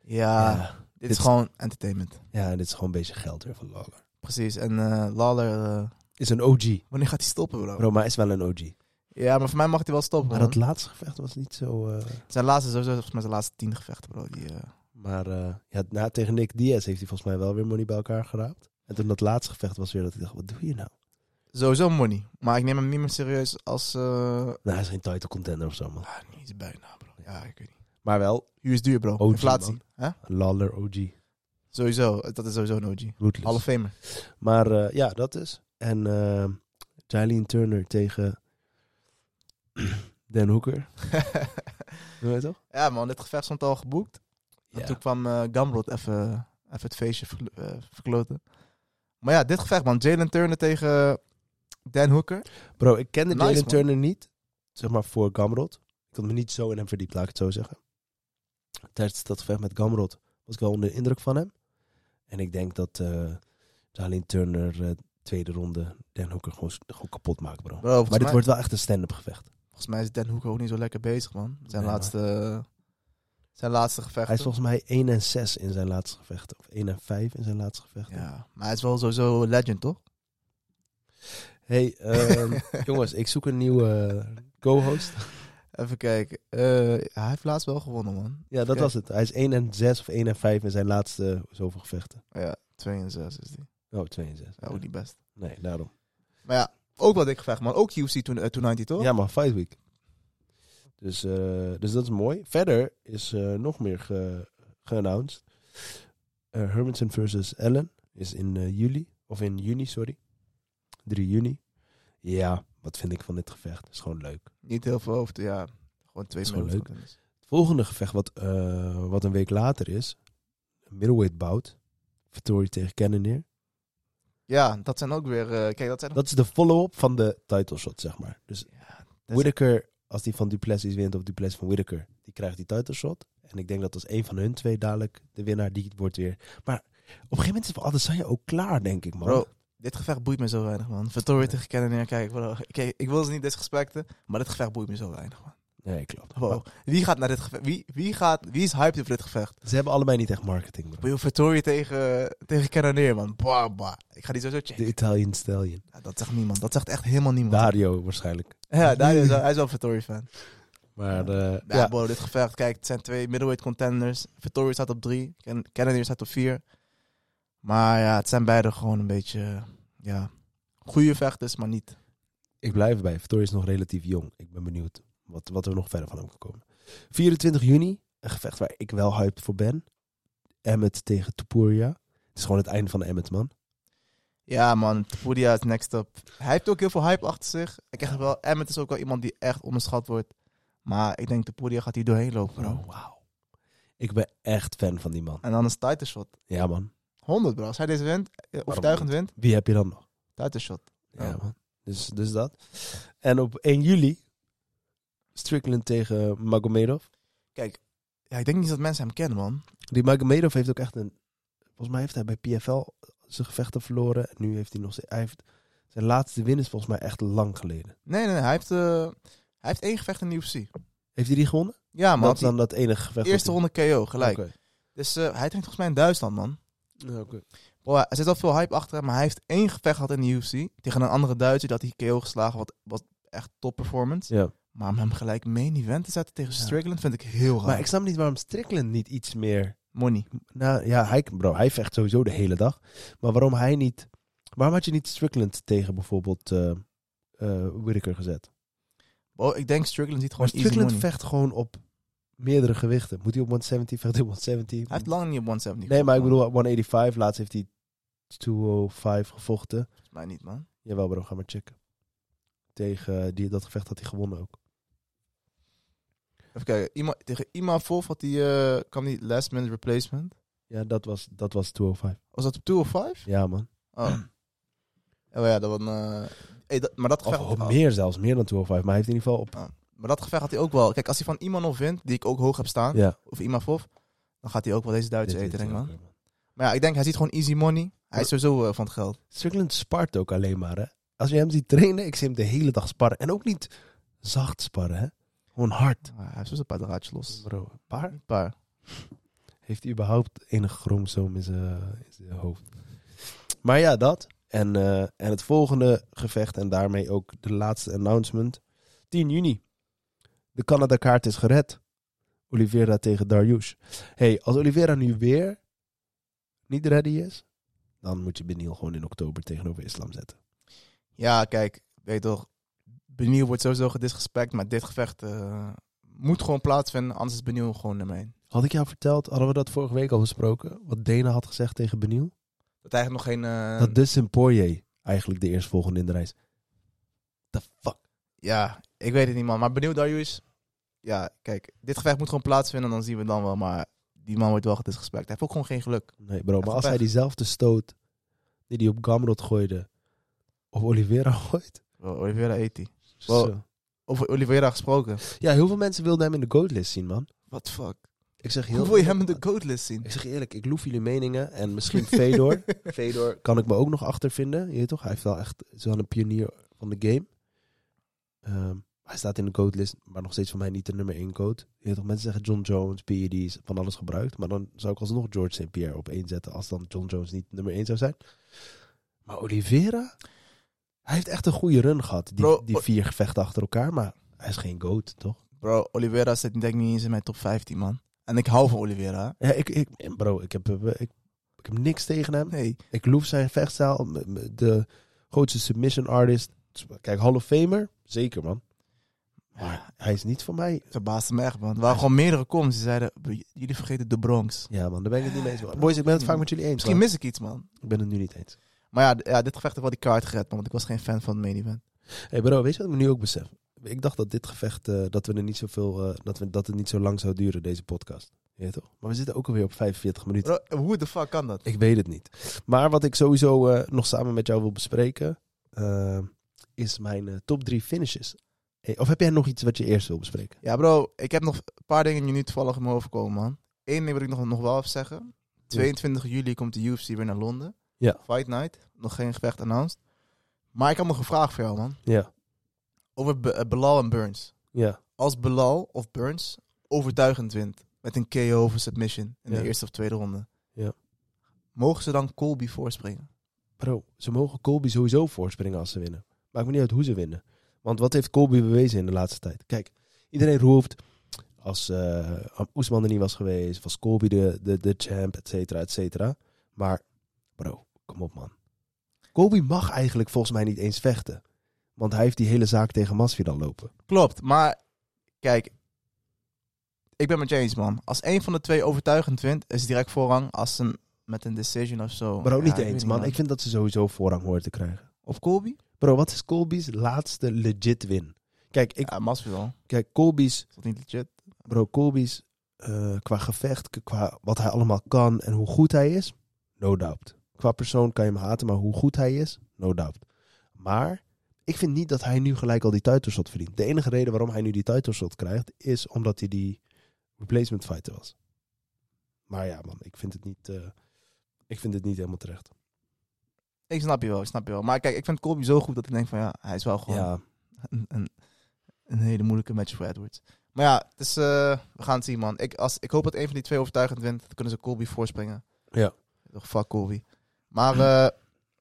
[SPEAKER 5] Ja, dit
[SPEAKER 4] dit
[SPEAKER 5] is
[SPEAKER 4] is-
[SPEAKER 5] gewoon entertainment.
[SPEAKER 4] Ja, en dit is gewoon een beetje geld weer van Lawler.
[SPEAKER 5] Precies. En eh, Lawler, eh,
[SPEAKER 4] Is een OG.
[SPEAKER 5] wanneer gaat hij stoppen, bro?
[SPEAKER 4] Roma is wel een OG.
[SPEAKER 5] Ja, maar voor mij mag hij wel stoppen,
[SPEAKER 4] Maar
[SPEAKER 5] man.
[SPEAKER 4] dat laatste gevecht was niet zo... eh,
[SPEAKER 5] Zijn laatste, sowieso volgens mij zijn laatste tien gevechten, bro. Die, eh,
[SPEAKER 4] Maar eh, ja, na, tegen Nick Diaz heeft hij volgens mij wel weer money bij elkaar geraapt. En toen dat laatste gevecht was weer dat ik dacht, wat doe je nou?
[SPEAKER 5] sowieso money. Maar ik neem hem niet meer serieus als... eh
[SPEAKER 4] Nou, hij is geen title contender of zo, man.
[SPEAKER 5] ah, niet bijna, bro. Ja, ik weet niet.
[SPEAKER 4] Maar wel,
[SPEAKER 5] Huur is duur, bro.
[SPEAKER 4] OG,
[SPEAKER 5] Inflatie.
[SPEAKER 4] man.
[SPEAKER 5] Hè?
[SPEAKER 4] Lawler OG.
[SPEAKER 5] Sowieso. Dat is sowieso een OG.
[SPEAKER 4] Ruthless.
[SPEAKER 5] Hall of Famer.
[SPEAKER 4] Maar eh, ja, dat is. En eh Jailene Turner tegen Dan Hooker. Doe je toch?
[SPEAKER 5] ja, man. Dit gevecht stond al geboekt. En toen kwam eh, Gamrot even, even het feestje verkl- eh, verkloten. Maar ja, dit gevecht, man. Jalen Turner tegen Dan Hooker.
[SPEAKER 4] Bro, ik kende
[SPEAKER 5] Nice,
[SPEAKER 4] Jalen
[SPEAKER 5] man.
[SPEAKER 4] Turner niet. Zeg maar voor Gamrot. Ik had me niet zo in hem verdiept, laat ik het zo zeggen. Tijdens dat gevecht met Gamrot was ik wel onder de indruk van hem. En ik denk dat eh Jalen Turner eh, tweede ronde Dan Hooker gewoon, gewoon kapot maakt, bro.
[SPEAKER 5] Bro, volgens,
[SPEAKER 4] maar dit
[SPEAKER 5] mij,
[SPEAKER 4] wordt wel echt een stand-up gevecht.
[SPEAKER 5] volgens mij is Dan Hooker ook niet zo lekker bezig, man. Zijn
[SPEAKER 4] Nee,
[SPEAKER 5] laatste... Zijn laatste gevecht.
[SPEAKER 4] Hij is volgens mij 1 en 6 in zijn laatste gevechten. Of 1 en 5 in zijn laatste gevechten.
[SPEAKER 5] Ja, maar hij is wel sowieso een legend, toch?
[SPEAKER 4] Hey, ehm, jongens, ik zoek een nieuwe eh, co-host.
[SPEAKER 5] Even kijken. Eh, hij heeft laatst wel gewonnen, man.
[SPEAKER 4] Ja, dat
[SPEAKER 5] Oké.
[SPEAKER 4] was het. Hij is 1 en 6 of 1 en 5 in zijn laatste zoveel gevechten.
[SPEAKER 5] Ja, 2 en 6 is die.
[SPEAKER 4] Oh, 2 en 6.
[SPEAKER 5] Ja, ook niet best.
[SPEAKER 4] Nee, daarom.
[SPEAKER 5] Maar ja, ook wel dik gevecht, man. Ook UFC toen, eh, 290, toch?
[SPEAKER 4] Ja, maar Fight Week. Dus, eh, dus dat is mooi. Verder is eh, nog meer ge geannounced. Eh Hermanson versus Allen is in eh, juli. Of in juni, sorry. 3 juni. Ja, wat vind ik van dit gevecht? Is gewoon leuk.
[SPEAKER 5] Niet heel veel over. te- Ja, gewoon twee
[SPEAKER 4] Is gewoon
[SPEAKER 5] minuten.
[SPEAKER 4] Het volgende gevecht, wat, eh, wat een week later is. een Middleweight bout. Vittori tegen Cannonier.
[SPEAKER 5] Ja, dat zijn ook weer... eh, kijk, dat zijn...
[SPEAKER 4] Dat is de follow-up van de title shot, zeg maar. Dus
[SPEAKER 5] Ja, dat is-
[SPEAKER 4] Whittaker, als die van Duplessis wint of Duplessis van Whittaker, die krijgt die title shot. En ik denk dat als een van hun twee dadelijk de winnaar, die wordt weer. Maar op een gegeven moment is Adesanya ook klaar, denk ik, man.
[SPEAKER 5] Bro, dit gevecht boeit me zo weinig, man. Vittorio tegen Cannonier, kijk, bro. Kijk, ik wil ze niet disrespecten, maar dit gevecht boeit me zo weinig, man.
[SPEAKER 4] Nee, klopt. Oh,
[SPEAKER 5] Wow. Wie gaat naar dit gevecht? Wie, wie, gaat, wie is hyped over dit gevecht?
[SPEAKER 4] Ze hebben allebei niet echt marketing, bro.
[SPEAKER 5] Bro, Vittorio tegen, tegen Cannonier, man. Bah, bah. Ik ga die sowieso
[SPEAKER 4] De
[SPEAKER 5] checken.
[SPEAKER 4] Italian Stallion.
[SPEAKER 5] Ja, dat zegt niemand. Dat zegt echt helemaal niemand.
[SPEAKER 4] Dario waarschijnlijk.
[SPEAKER 5] Ja, daar is, hij is wel Vittorio-fan.
[SPEAKER 4] Maar eh,
[SPEAKER 5] Ja,
[SPEAKER 4] ja,
[SPEAKER 5] bro, dit gevecht. Kijk, het zijn twee middleweight contenders. Vittorio staat op drie. Can- Cannonier staat op vier. Maar ja, het zijn beide gewoon een beetje... Ja, goede vechters, maar niet...
[SPEAKER 4] ik blijf erbij. Vittori is nog relatief jong. Ik ben benieuwd wat, wat er nog verder van hem kan komen. 24 juni, een gevecht waar ik wel hyped voor ben. Emmet tegen Topuria. Het is gewoon het einde van Emmet, man.
[SPEAKER 5] Ja, man, Tapudia is next up. Hij heeft ook heel veel hype achter zich. Ik echt wel, Emmet is ook wel iemand die echt onderschat wordt. Maar ik denk Tapudia gaat hier doorheen lopen, bro.
[SPEAKER 4] Bro, wauw. Ik ben echt fan van die man.
[SPEAKER 5] En dan is title shot.
[SPEAKER 4] Ja, man.
[SPEAKER 5] 100, bro. Als hij deze wint, eh, overtuigend wint,
[SPEAKER 4] Wie heb je dan nog?
[SPEAKER 5] title shot.
[SPEAKER 4] Ja,
[SPEAKER 5] Ja.
[SPEAKER 4] man. Dus, dus dat. En op 1 juli... Strickland tegen Magomedov.
[SPEAKER 5] Kijk, ja, ik denk niet dat mensen hem kennen, man.
[SPEAKER 4] Die Magomedov heeft ook echt een... Volgens mij heeft hij bij PFL zijn gevechten verloren. En nu heeft hij nog... zijn- Hij heeft, zijn laatste win is volgens mij echt lang geleden.
[SPEAKER 5] Nee, nee, nee, hij heeft, eh, hij heeft één gevecht in de UFC.
[SPEAKER 4] Heeft hij die gewonnen?
[SPEAKER 5] Ja,
[SPEAKER 4] Maar
[SPEAKER 5] man.
[SPEAKER 4] dat is dan dat enige gevecht.
[SPEAKER 5] die eerste
[SPEAKER 4] wat
[SPEAKER 5] ronde KO,
[SPEAKER 4] hij-
[SPEAKER 5] gelijk.
[SPEAKER 4] Oké.
[SPEAKER 5] Dus eh, hij traint volgens mij in Duitsland, man.
[SPEAKER 4] Ja, oké.
[SPEAKER 5] Bro, er zit al veel hype achter hem, maar hij heeft één gevecht gehad in de UFC. Tegen een andere Duitser, dat hij KO geslagen, wat, wat echt top performance.
[SPEAKER 4] Ja.
[SPEAKER 5] Maar om hem gelijk main event te zetten tegen
[SPEAKER 4] Ja.
[SPEAKER 5] Strickland vind ik heel raar.
[SPEAKER 4] Maar ik snap niet waarom Strickland niet iets meer...
[SPEAKER 5] Money.
[SPEAKER 4] Nou ja, hij, bro, hij vecht sowieso de hele dag. Maar waarom hij niet... Waarom had je niet Strickland tegen bijvoorbeeld eh eh, Whittaker gezet?
[SPEAKER 5] Oh, ik denk Strickland ziet
[SPEAKER 4] Maar
[SPEAKER 5] gewoon easy
[SPEAKER 4] Strickland
[SPEAKER 5] money.
[SPEAKER 4] vecht gewoon op meerdere gewichten. Moet hij op 170, vecht hij op 170.
[SPEAKER 5] Hij heeft lang niet op 170
[SPEAKER 4] Nee, maar ik
[SPEAKER 5] gevochten, man.
[SPEAKER 4] bedoel 185. Laatst heeft hij 205 gevochten.
[SPEAKER 5] Volgens mij niet, man.
[SPEAKER 4] Jawel bro, ga maar checken. Tegen eh, die, dat gevecht had hij gewonnen ook.
[SPEAKER 5] Even kijken. Ima, tegen Ima Wolf had hij... eh kwam die last minute replacement.
[SPEAKER 4] Ja, dat was, dat was 205.
[SPEAKER 5] Was dat op 205?
[SPEAKER 4] Ja man.
[SPEAKER 5] Oh.
[SPEAKER 4] Hmm.
[SPEAKER 5] oh ja, dat was een... eh, hey, dat, maar, dat
[SPEAKER 4] Of,
[SPEAKER 5] gevecht, oh,
[SPEAKER 4] of meer zelfs, meer dan 205. Maar hij heeft in ieder geval op...
[SPEAKER 5] maar dat gevecht had hij ook wel. Kijk, als hij van iemand nog wint, die ik ook hoog heb staan,
[SPEAKER 4] Ja.
[SPEAKER 5] of Ima Wolf, dan gaat hij ook wel deze Duitse
[SPEAKER 4] Dit-
[SPEAKER 5] eten,
[SPEAKER 4] dit-
[SPEAKER 5] denk ik, man. Maar ja, ik denk, hij ziet gewoon easy money. Hij is sowieso eh, van het geld.
[SPEAKER 4] Strickland spart ook alleen maar, hè. Als je hem ziet trainen, ik zie hem de hele dag sparren. En ook niet zacht sparren, hè. Gewoon hard.
[SPEAKER 5] Maar hij heeft sowieso een paar draadjes los.
[SPEAKER 4] Bro, paar?
[SPEAKER 5] Een paar.
[SPEAKER 4] Heeft hij überhaupt enig chromosoom in zijn in zijn hoofd? Maar ja, dat. En, eh, en het volgende gevecht en daarmee ook de laatste announcement. 10 juni. De Canada-kaart is gered. Oliveira tegen Darius. hey, als Oliveira nu weer niet ready is, dan moet je Beniel gewoon in oktober tegenover Islam zetten.
[SPEAKER 5] Ja, kijk, weet je toch, Benieuw wordt sowieso gedisrespect, maar dit gevecht eh, moet gewoon plaatsvinden, anders is Benieuw gewoon nummer één.
[SPEAKER 4] Had ik jou verteld, hadden we dat vorige week al besproken, wat Dana had gezegd tegen Beniel?
[SPEAKER 5] Dat eigenlijk nog geen... eh,
[SPEAKER 4] Dat Dustin Poirier eigenlijk de eerstvolgende in de reis. The fuck?
[SPEAKER 5] Ja, ik weet het niet man, maar Benieuw Darius, ja, kijk, dit gevecht moet gewoon plaatsvinden, dan zien we het dan wel, maar die man wordt wel gedisrespect. Hij heeft ook gewoon geen geluk.
[SPEAKER 4] Nee bro, maar
[SPEAKER 5] Even
[SPEAKER 4] als
[SPEAKER 5] pech.
[SPEAKER 4] hij diezelfde stoot die hij op Gamrot gooide, op Oliveira gooit.
[SPEAKER 5] Oh, Oliveira eet die. Wow.
[SPEAKER 4] zo.
[SPEAKER 5] Over Oliveira gesproken.
[SPEAKER 4] Ja, heel veel mensen wilden hem in de goatlist zien, man.
[SPEAKER 5] What fuck?
[SPEAKER 4] Ik zeg heel
[SPEAKER 5] Hoe wil je hem in de goatlist zien?
[SPEAKER 4] Ik zeg eerlijk, ik loef jullie meningen en misschien Fedor. Fedor kan ik me ook nog achtervinden, je weet toch? Hij heeft wel echt zo'n pionier van de game. Ehm, hij staat in de codelijst, maar nog steeds voor mij niet de nummer 1 code. Je weet toch, mensen zeggen John Jones, PED's, van alles gebruikt. Maar dan zou ik alsnog George St. Pierre op één zetten als dan John Jones niet nummer 1 zou zijn. Maar Oliveira, hij heeft echt een goede run gehad. Die,
[SPEAKER 5] Bro,
[SPEAKER 4] die
[SPEAKER 5] o-
[SPEAKER 4] vier gevechten achter elkaar, maar hij is geen goat, toch?
[SPEAKER 5] Bro, Oliveira zit denk ik niet eens in mijn top 15 man. En ik hou van Oliveira. hè.
[SPEAKER 4] Ja, ik, ik, bro, ik heb, eh, ik, ik heb niks tegen hem.
[SPEAKER 5] Nee,
[SPEAKER 4] Ik loef zijn vechtstijl. M- m- De grootste submission artist. Kijk, Hall of Famer. Zeker, man. Maar hij is niet van mij.
[SPEAKER 5] Het verbaasde me echt, man. Er waren gewoon meerdere comments die zeiden, "B- jullie vergeten de Bronx.
[SPEAKER 4] Ja, man. Hmm. Daar ben ik het niet mee eens. Boys, ik ben het vaak met jullie eens.
[SPEAKER 5] Misschien
[SPEAKER 4] man.
[SPEAKER 5] mis ik iets, man.
[SPEAKER 4] Ik ben het nu niet eens.
[SPEAKER 5] Maar ja, d- ja, dit gevecht heeft wel die kaart gered, man. Want ik was geen fan van het main event.
[SPEAKER 4] hey bro, weet je wat ik me nu ook besef? Ik dacht dat dit gevecht, eh, dat, we er niet zoveel, eh, dat, we, dat het niet zo lang zou duren, deze podcast. Je weet toch? Maar we zitten ook alweer op 45 minuten.
[SPEAKER 5] Bro, hoe de fuck kan dat?
[SPEAKER 4] Ik weet het niet. Maar wat ik sowieso eh, nog samen met jou wil bespreken, eh, is mijn eh, top drie finishes. Hey, of heb jij nog iets wat je eerst wil bespreken?
[SPEAKER 5] Ja, bro. Ik heb nog een paar dingen die nu toevallig in me overkomen, man. Eén ding wil ik nog, nog wel even zeggen. 22 juli komt de UFC weer naar Londen.
[SPEAKER 4] Ja.
[SPEAKER 5] Fight Night. Nog geen gevecht announced. Maar ik had nog een vraag voor jou, man.
[SPEAKER 4] Ja.
[SPEAKER 5] Over Be- eh, Belal en Burns.
[SPEAKER 4] Ja.
[SPEAKER 5] Als Belal of Burns overtuigend wint met een KO of een submission in
[SPEAKER 4] Ja.
[SPEAKER 5] de eerste of tweede ronde.
[SPEAKER 4] Ja.
[SPEAKER 5] Mogen ze dan Colby voorspringen?
[SPEAKER 4] Bro, ze mogen Colby sowieso voorspringen als ze winnen. Maakt me niet uit hoe ze winnen. Want wat heeft Colby bewezen in de laatste tijd? Kijk, iedereen roept... Als eh Oesman er niet was geweest, was Colby de, de, de champ, et cetera, et cetera. Maar, bro, kom op man. Colby mag eigenlijk volgens mij niet eens vechten. Want hij heeft die hele zaak tegen Masvidal lopen.
[SPEAKER 5] Klopt, maar kijk, ik ben met James man. Als een van de twee overtuigend wint, is het direct voorrang als een met een decision of zo.
[SPEAKER 4] Bro,
[SPEAKER 5] Ja,
[SPEAKER 4] niet
[SPEAKER 5] ik weet
[SPEAKER 4] eens man. Ik vind dat ze sowieso voorrang horen te krijgen.
[SPEAKER 5] Of Colby?
[SPEAKER 4] Bro, wat is Colby's laatste legit win? Kijk, ik,
[SPEAKER 5] Ja, Masvidal.
[SPEAKER 4] kijk Colby's
[SPEAKER 5] Is dat niet legit?
[SPEAKER 4] Bro Colby's, eh, qua gevecht, k- qua wat hij allemaal kan en hoe goed hij is, no doubt. Qua persoon kan je hem haten, maar hoe goed hij is, no doubt. Maar ik vind niet dat hij nu gelijk al die titleshot verdient. De enige reden waarom hij nu die titleshot krijgt, is omdat hij die replacement fighter was. Maar ja, man, ik vind het niet, eh, ik vind het niet helemaal terecht.
[SPEAKER 5] Ik snap je wel, ik snap je wel. Maar kijk, ik vind Colby zo goed dat ik denk van ja, hij is wel gewoon
[SPEAKER 4] Ja,
[SPEAKER 5] een, een, een hele moeilijke match voor Edwards. Maar ja, dus, we gaan het zien man. Ik, als, ik hoop dat een van die twee overtuigend wint, dan kunnen ze Colby voorspringen.
[SPEAKER 4] Ja.
[SPEAKER 5] Toch, Fuck Colby. Maar eh,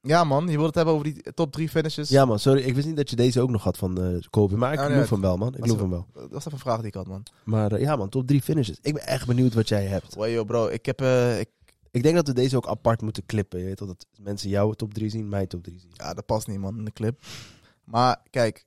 [SPEAKER 5] Ja, man. Je wilde het hebben over die top drie finishes.
[SPEAKER 4] Ja man, sorry. Ik wist niet dat je deze ook nog had van eh Kobe. Maar ik
[SPEAKER 5] Ah, nee,
[SPEAKER 4] loof
[SPEAKER 5] het-
[SPEAKER 4] hem wel man. Ik
[SPEAKER 5] dat
[SPEAKER 4] loof
[SPEAKER 5] is-
[SPEAKER 4] hem wel.
[SPEAKER 5] Dat was even een vraag die ik had, man.
[SPEAKER 4] Maar eh, ja man, top drie finishes. Ik ben echt benieuwd wat jij hebt.
[SPEAKER 5] Wow, yo, bro. Ik heb... eh, ik...
[SPEAKER 4] Ik denk dat we deze ook apart moeten clippen. Je weet wel, dat mensen jouw top 3 zien, mijn top 3 zien.
[SPEAKER 5] Ja, dat past niet, man, in de clip. Maar kijk,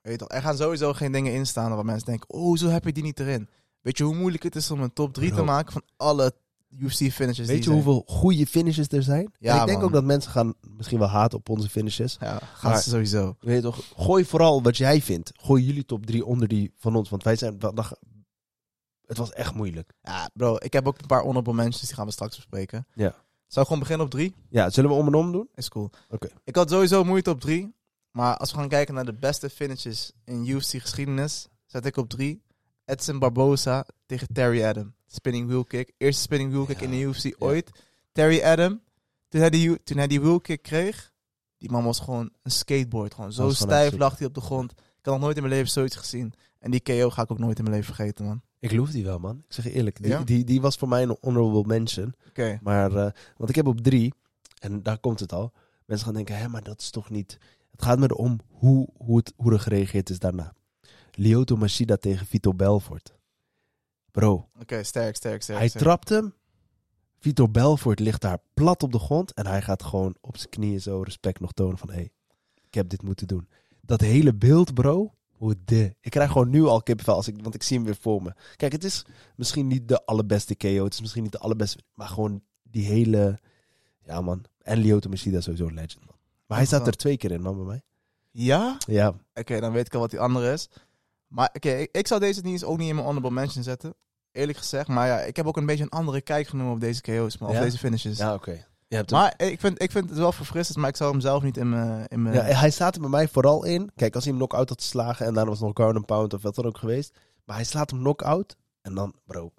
[SPEAKER 5] weet je toch, er gaan sowieso geen dingen in staan waar mensen denken... Oh, zo heb je die niet erin. Weet je hoe moeilijk het is om een top 3
[SPEAKER 4] Bro.
[SPEAKER 5] te maken van alle UFC-finishes die
[SPEAKER 4] Weet je
[SPEAKER 5] zijn?
[SPEAKER 4] hoeveel goede finishes er zijn?
[SPEAKER 5] Ja,
[SPEAKER 4] En ik denk
[SPEAKER 5] man.
[SPEAKER 4] ook dat mensen gaan misschien wel haten op onze finishes.
[SPEAKER 5] Ja, gaan
[SPEAKER 4] Maar-
[SPEAKER 5] ze sowieso.
[SPEAKER 4] Weet je toch, gooi vooral wat jij vindt. Gooi jullie top 3 onder die van ons. Want wij zijn... wa- dag- Het was echt moeilijk.
[SPEAKER 5] Ja, bro. Ik heb ook een paar honorable mentions, die gaan we straks bespreken.
[SPEAKER 4] Ja.
[SPEAKER 5] Zou ik gewoon beginnen op drie?
[SPEAKER 4] Ja, zullen we om en om doen?
[SPEAKER 5] Is cool.
[SPEAKER 4] Oké.
[SPEAKER 5] Ik had sowieso moeite op drie. Maar als we gaan kijken naar de beste finishes in UFC-geschiedenis, zet ik op drie. Edson Barboza tegen Terry Adam. Spinning wheel kick. Eerste spinning wheel kick
[SPEAKER 4] Ja.
[SPEAKER 5] in de UFC ooit. Terry Adam, toen hij, die, toen hij die wheel kick kreeg, die man was gewoon een skateboard. Gewoon zo
[SPEAKER 4] was gewoon echt
[SPEAKER 5] stijf
[SPEAKER 4] ziek.
[SPEAKER 5] lag hij op de grond. Ik had nog nooit in mijn leven zoiets gezien. En die KO ga ik ook nooit in mijn leven vergeten, man.
[SPEAKER 4] Ik loof die wel, man. Ik zeg je eerlijk. Die,
[SPEAKER 5] Ja?
[SPEAKER 4] die, die was voor mij een honorable mention.
[SPEAKER 5] Oké.
[SPEAKER 4] Maar, eh, want ik heb op drie, en daar komt het al. Mensen gaan denken, hè, maar dat is toch niet... Het gaat me erom hoe, hoe, het, hoe er gereageerd is daarna. Lyoto Machida tegen Vito Belfort. Bro,
[SPEAKER 5] Oké, sterk, sterk, sterk.
[SPEAKER 4] hij
[SPEAKER 5] sterk.
[SPEAKER 4] trapt hem. Vito Belfort ligt daar plat op de grond. En hij gaat gewoon op zijn knieën zo respect nog tonen van... Hé, hey, ik heb dit moeten doen. Dat hele beeld, bro. Hoe de... Ik krijg gewoon nu al kippenvel, als ik, want ik zie hem weer voor me. Kijk, het is misschien niet de allerbeste KO. Het is misschien niet de allerbeste... Maar gewoon die hele... Ja, man. En Lyoto Machida is sowieso een legend, man. Maar hij staat er twee keer in, man, bij mij.
[SPEAKER 5] Ja?
[SPEAKER 4] Ja,
[SPEAKER 5] Oké, dan weet ik al wat die andere is. Maar oké, ik, ik zou deze niet eens ook niet in mijn honorable mention zetten. Eerlijk gezegd. Maar ja, ik heb ook een beetje een andere kijk genomen op deze KO's. Maar,
[SPEAKER 4] Ja?
[SPEAKER 5] Of deze finishes.
[SPEAKER 4] ja oké. Je hebt hem.
[SPEAKER 5] maar eh, ik vind, ik vind het wel verfrissend. Maar ik zou hem zelf niet in mijn... In mijn...
[SPEAKER 4] Ja, hij staat er bij mij vooral in. Kijk, als hij hem knock-out had geslagen en daarna was het nog ground and pound of wat dan ook geweest. Maar hij slaat hem knock-out en dan, bro,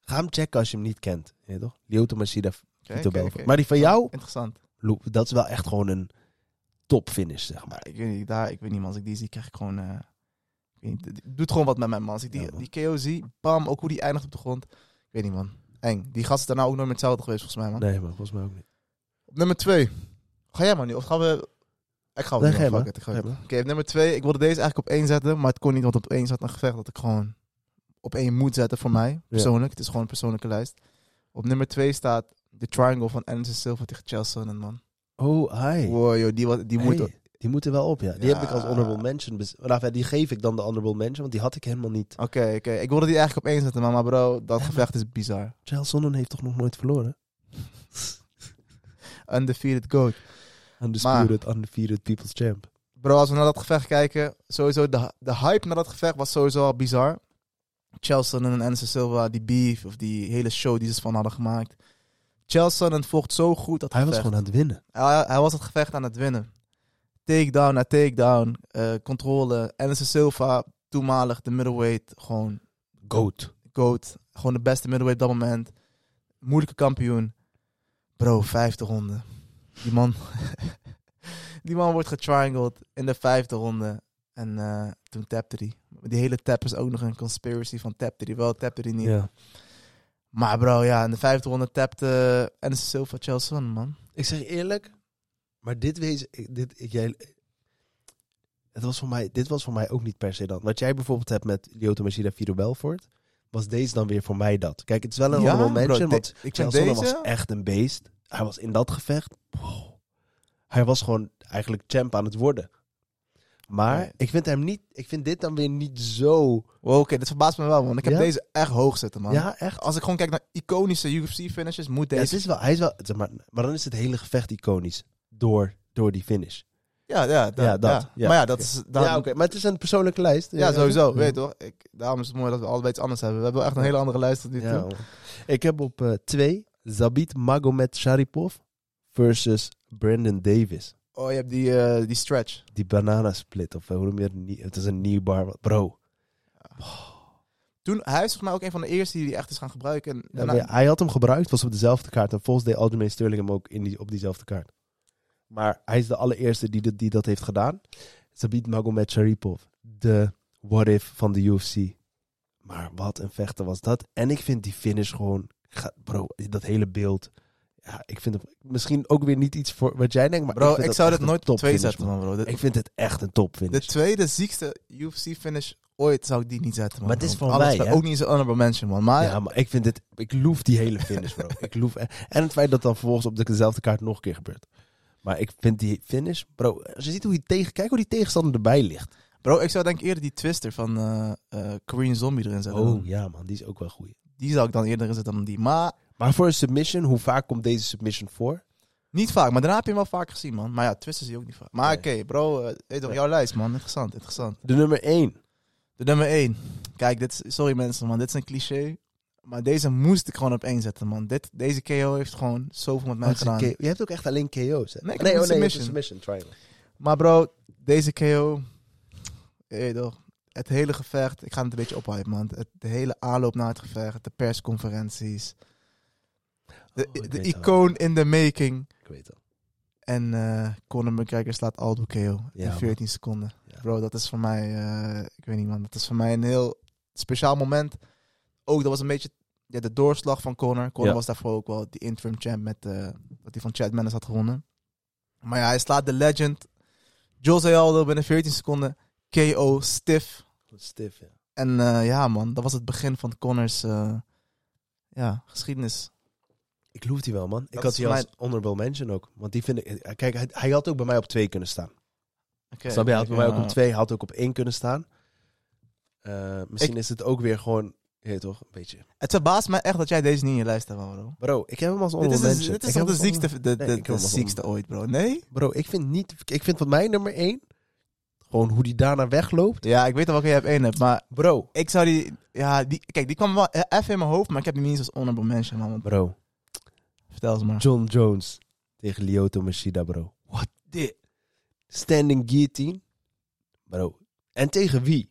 [SPEAKER 4] ga hem checken als je hem niet kent. Je weet toch? Lyoto Machida,
[SPEAKER 5] Oké,
[SPEAKER 4] Vito
[SPEAKER 5] oké,
[SPEAKER 4] Belfort.
[SPEAKER 5] oké.
[SPEAKER 4] Maar die van jou,
[SPEAKER 5] Interessant.
[SPEAKER 4] Lou, dat is wel echt gewoon een top finish, zeg maar.
[SPEAKER 5] Maar ik weet niet, daar, ik weet niet man. Als ik die zie, krijg ik gewoon... eh, ik weet niet, het doet gewoon wat met mij, man. Als ik die,
[SPEAKER 4] Ja, man.
[SPEAKER 5] die KO zie, bam, ook hoe die eindigt op de grond. Ik weet niet, man. Eng. Die gast is daarna ook nooit meer hetzelfde geweest, volgens mij, man.
[SPEAKER 4] Nee, maar volgens mij ook niet.
[SPEAKER 5] Op nummer twee. Ga jij maar nu, of gaan we... Ik ga
[SPEAKER 4] Nee,
[SPEAKER 5] wel.
[SPEAKER 4] ga jij
[SPEAKER 5] Oh, fuck
[SPEAKER 4] maar.
[SPEAKER 5] it, ik ga
[SPEAKER 4] Ga jij
[SPEAKER 5] het.
[SPEAKER 4] maar.
[SPEAKER 5] Oké, op nummer twee. Ik wilde deze eigenlijk op één zetten, maar het kon niet, want op één zat een gevecht dat ik gewoon op één moet zetten voor mij. Persoonlijk, het is gewoon een persoonlijke lijst. Op nummer twee staat de triangle van Anderson Silva tegen Chelsea en man.
[SPEAKER 4] Oh, hi.
[SPEAKER 5] Wow, joh, die, wa- die
[SPEAKER 4] Hey,
[SPEAKER 5] moet... Oké,
[SPEAKER 4] die moeten wel op, ja. Die
[SPEAKER 5] Ja.
[SPEAKER 4] heb ik als honorable mention. bes- Nou, enfin, die geef ik dan de honorable mention, want die had ik helemaal niet.
[SPEAKER 5] oké. Ik wilde die eigenlijk op één zetten, maar, maar bro, dat gevecht is bizar.
[SPEAKER 4] Charles Sonnen heeft toch nog nooit verloren?
[SPEAKER 5] Undefeated goat.
[SPEAKER 4] Undisputed, undefeated people's champ.
[SPEAKER 5] Bro, als we naar dat gevecht kijken, sowieso de, de hype naar dat gevecht was sowieso al bizar. Chelsea en Anderson Silva, die beef of die hele show die ze van hadden gemaakt. Chelsea en vocht zo goed dat
[SPEAKER 4] Hij was
[SPEAKER 5] gevecht.
[SPEAKER 4] gewoon aan het winnen.
[SPEAKER 5] Hij, hij was het gevecht aan het winnen. Takedown na takedown, eh controle. Anderson Silva, toenmalig de middleweight, gewoon
[SPEAKER 4] Goat.
[SPEAKER 5] goat. Gewoon de beste middleweight op dat moment. Moeilijke kampioen. Bro, vijfde ronde. Die man, die man wordt getriangled in de vijfde ronde. En eh, toen tapte hij. Die hele tap is ook nog een conspiracy van tapte hij wel, tapte hij niet.
[SPEAKER 4] Ja.
[SPEAKER 5] Maar bro, ja, in de vijfde ronde tapte en Silva Chelsea, man.
[SPEAKER 4] Ik zeg je eerlijk, maar dit wees, ik- dit, ik- jij, het was voor mij, dit was voor mij ook niet per se dan. Wat jij bijvoorbeeld hebt met Lyoto Machida Vito Belfort, was deze dan weer voor mij dat. Kijk, het is wel een
[SPEAKER 5] Ja,
[SPEAKER 4] honorable
[SPEAKER 5] bro,
[SPEAKER 4] mention,
[SPEAKER 5] de-
[SPEAKER 4] want
[SPEAKER 5] ik vind
[SPEAKER 4] Chelsea
[SPEAKER 5] deze-
[SPEAKER 4] was echt een beest. Hij was in dat gevecht, wow. hij was gewoon eigenlijk champ aan het worden. Maar
[SPEAKER 5] Nee.
[SPEAKER 4] ik vind hem niet, ik vind dit dan weer niet zo,
[SPEAKER 5] Wow, Oké, dit verbaast me wel, man. Ik heb
[SPEAKER 4] Ja?
[SPEAKER 5] deze echt hoog zitten, man.
[SPEAKER 4] ja echt.
[SPEAKER 5] Als ik gewoon kijk naar iconische UFC-finishes, moet
[SPEAKER 4] Ja, het
[SPEAKER 5] deze...
[SPEAKER 4] is wel, hij is wel, zeg maar, maar dan is het hele gevecht iconisch door, door die finish.
[SPEAKER 5] Ja, ja, dat,
[SPEAKER 4] Ja, dat,
[SPEAKER 5] ja.
[SPEAKER 4] ja.
[SPEAKER 5] Maar ja, dat
[SPEAKER 4] Oké.
[SPEAKER 5] is... daar-
[SPEAKER 4] ja, oké, maar het is een persoonlijke lijst.
[SPEAKER 5] Ja, sowieso. Weet je toch? Ik, daarom is het mooi dat we allebei iets anders hebben. We hebben wel echt een hele andere lijst tot nu toe.
[SPEAKER 4] Ja, man. ik heb op eh, twee Zabit Magomed Sharipov versus Brandon Davis.
[SPEAKER 5] Oh, je hebt die, eh, die stretch.
[SPEAKER 4] Die bananasplit, of eh, hoe noem je het? Nie- Het is een kneebar. wat- Bro,
[SPEAKER 5] Toen, hij is volgens mij ook een van de eerste die die echt is gaan gebruiken. En daarna-
[SPEAKER 4] Ja, hij had hem gebruikt, was op dezelfde kaart. En volgens deed Alderman Sterling hem ook in die, op diezelfde kaart. Maar hij is de allereerste die, dat- die dat heeft gedaan. Zabit Magomed Sharipov, de what-if van de UFC. Maar wat een vechter was dat. En ik vind die finish gewoon... ga- Bro, dat hele beeld. ja, ik vind het misschien ook weer niet iets voor wat jij denkt. Maar
[SPEAKER 5] Bro,
[SPEAKER 4] vind
[SPEAKER 5] ik zou
[SPEAKER 4] echt
[SPEAKER 5] dit
[SPEAKER 4] een
[SPEAKER 5] nooit op twee
[SPEAKER 4] topfinish,
[SPEAKER 5] zetten, man, bro. Dit-
[SPEAKER 4] Ik vind het echt een top
[SPEAKER 5] De
[SPEAKER 4] finish.
[SPEAKER 5] tweede ziekste UFC-finish ooit zou ik die niet zetten, man.
[SPEAKER 4] Maar het is
[SPEAKER 5] Want
[SPEAKER 4] van
[SPEAKER 5] alles
[SPEAKER 4] mij,
[SPEAKER 5] bij-
[SPEAKER 4] hè?
[SPEAKER 5] Ook niet zo'n honorable mention, man. Maar
[SPEAKER 4] Ja, maar ik vind dit... Ik loef die hele finish, bro. ik loef... e- En het feit dat dan vervolgens op de- dezelfde kaart nog een keer gebeurt. Maar ik vind die finish... Bro, als je ziet hoe hij tegen... Kijk hoe die tegenstander erbij ligt.
[SPEAKER 5] bro, ik zou denk ik eerder die twister van eh eh, Korean Zombie erin zetten.
[SPEAKER 4] Oh ja, man. Die is ook wel goed.
[SPEAKER 5] Die zou ik dan eerder erin zetten dan die. Maar
[SPEAKER 4] Maar voor een submission, hoe vaak komt deze submission voor?
[SPEAKER 5] niet vaak. Maar daarna heb je hem wel vaak gezien, man. Maar ja, twisters zie je ook niet vaak. Maar
[SPEAKER 4] Nee.
[SPEAKER 5] oké, bro. eh, hey, toch,
[SPEAKER 4] Nee.
[SPEAKER 5] jouw lijst, man. Interessant, interessant.
[SPEAKER 4] De nummer 1.
[SPEAKER 5] De nummer 1. Kijk, dit is, sorry mensen, man. Dit is een cliché. Maar deze moest ik gewoon op één zetten, man. Dit, deze KO heeft gewoon zoveel met mij gedaan.
[SPEAKER 4] Je hebt ook echt alleen KO's, hè?
[SPEAKER 5] Nee, ik heb
[SPEAKER 4] oh,
[SPEAKER 5] een
[SPEAKER 4] je hebt
[SPEAKER 5] submission.
[SPEAKER 4] submission triangle.
[SPEAKER 5] Maar bro, deze KO. Hey toch. Het hele gevecht. Ik ga het een beetje ophypen, man. Het, de hele aanloop naar het gevecht. De persconferenties. De,
[SPEAKER 4] Oh, ik
[SPEAKER 5] de
[SPEAKER 4] weet het
[SPEAKER 5] icoon in the making.
[SPEAKER 4] Ik weet het.
[SPEAKER 5] En eh Conor McGregor slaat Aldo KO in
[SPEAKER 4] man.
[SPEAKER 5] 14 seconden.
[SPEAKER 4] Ja.
[SPEAKER 5] Bro, dat is voor mij... eh, ik weet niet, man. Dat is voor mij een heel speciaal moment. Ook, dat was een beetje ja, de doorslag van Conor. Conor
[SPEAKER 4] Ja.
[SPEAKER 5] was daarvoor ook wel die interim champ met... eh, dat hij van Chad Mendes had gewonnen. Maar ja, hij slaat de legend. Jose Aldo binnen 14 seconden. KO, stif.
[SPEAKER 4] Goed stif, ja.
[SPEAKER 5] En eh, ja, man. Dat was het begin van Conors eh, ja, geschiedenis.
[SPEAKER 4] Ik loef die wel, man. Ik
[SPEAKER 5] Dat
[SPEAKER 4] had
[SPEAKER 5] is
[SPEAKER 4] die
[SPEAKER 5] voor
[SPEAKER 4] als honorable mention ook. Want die vind ik... Kijk, hij, hij had ook bij mij op twee kunnen staan.
[SPEAKER 5] Oké.
[SPEAKER 4] Snap je? Hij had bij mij ook
[SPEAKER 5] Ja.
[SPEAKER 4] op twee, hij had ook op één kunnen staan. Eh, misschien is het ook weer gewoon... Je weet toch? Een beetje...
[SPEAKER 5] Het verbaast mij echt dat jij deze niet in je lijst hebt, man, bro.
[SPEAKER 4] Bro, ik heb hem als
[SPEAKER 5] Dit is,
[SPEAKER 4] honorable
[SPEAKER 5] dit is,
[SPEAKER 4] mention. Ik
[SPEAKER 5] toch
[SPEAKER 4] heb
[SPEAKER 5] de
[SPEAKER 4] hem als
[SPEAKER 5] ziekste, de, de,
[SPEAKER 4] Nee, ik heb
[SPEAKER 5] de
[SPEAKER 4] hem als
[SPEAKER 5] ziekste ooit, bro. Nee?
[SPEAKER 4] Bro, ik vind niet... Ik vind van mij nummer één... Gewoon hoe die daarna wegloopt.
[SPEAKER 5] Ja, ik weet wel welke jij op één hebt, maar
[SPEAKER 4] Bro.
[SPEAKER 5] ik zou die... Ja, die, kijk, die kwam wel e- even in mijn hoofd, maar ik heb die niet eens als honorable mention, man. Want-
[SPEAKER 4] Bro.
[SPEAKER 5] Vertel eens maar.
[SPEAKER 4] John Jones tegen Lyoto Machida, bro. What the? Standing guillotine. Bro. En tegen wie?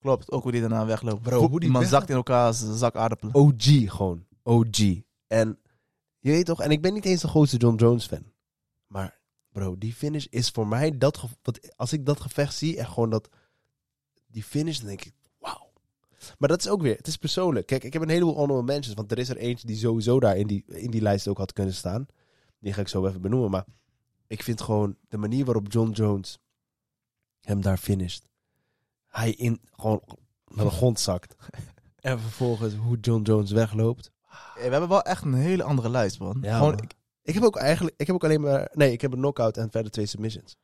[SPEAKER 5] Klopt, ook hoe die Oh. daarna wegloopt.
[SPEAKER 4] Bro,
[SPEAKER 5] Voet-
[SPEAKER 4] hoe die
[SPEAKER 5] man
[SPEAKER 4] weg-
[SPEAKER 5] zakt in elkaar als een zak aardappelen.
[SPEAKER 4] OG gewoon. OG. En je weet toch, en ik ben niet eens de grootste John Jones fan. Maar bro, die finish is voor mij dat ge- wat, Als ik dat gevecht zie en gewoon dat. Die finish, dan denk ik, wauw. Maar dat is ook weer, het is persoonlijk. Kijk, ik heb een heleboel honorable mentions. Want er is er eentje die sowieso daar in die, in die lijst ook had kunnen staan. Die ga ik zo even benoemen. Maar ik vind gewoon de manier waarop John Jones hem daar finisht. Hij in, gewoon naar de grond zakt. En vervolgens hoe John Jones wegloopt.
[SPEAKER 5] Eh, We hebben wel echt een hele andere lijst, man.
[SPEAKER 4] Ja,
[SPEAKER 5] Gewoon,
[SPEAKER 4] man.
[SPEAKER 5] ik,
[SPEAKER 4] Ik heb ook eigenlijk, ik heb ook alleen maar, nee, ik heb een knockout en verder twee submissions.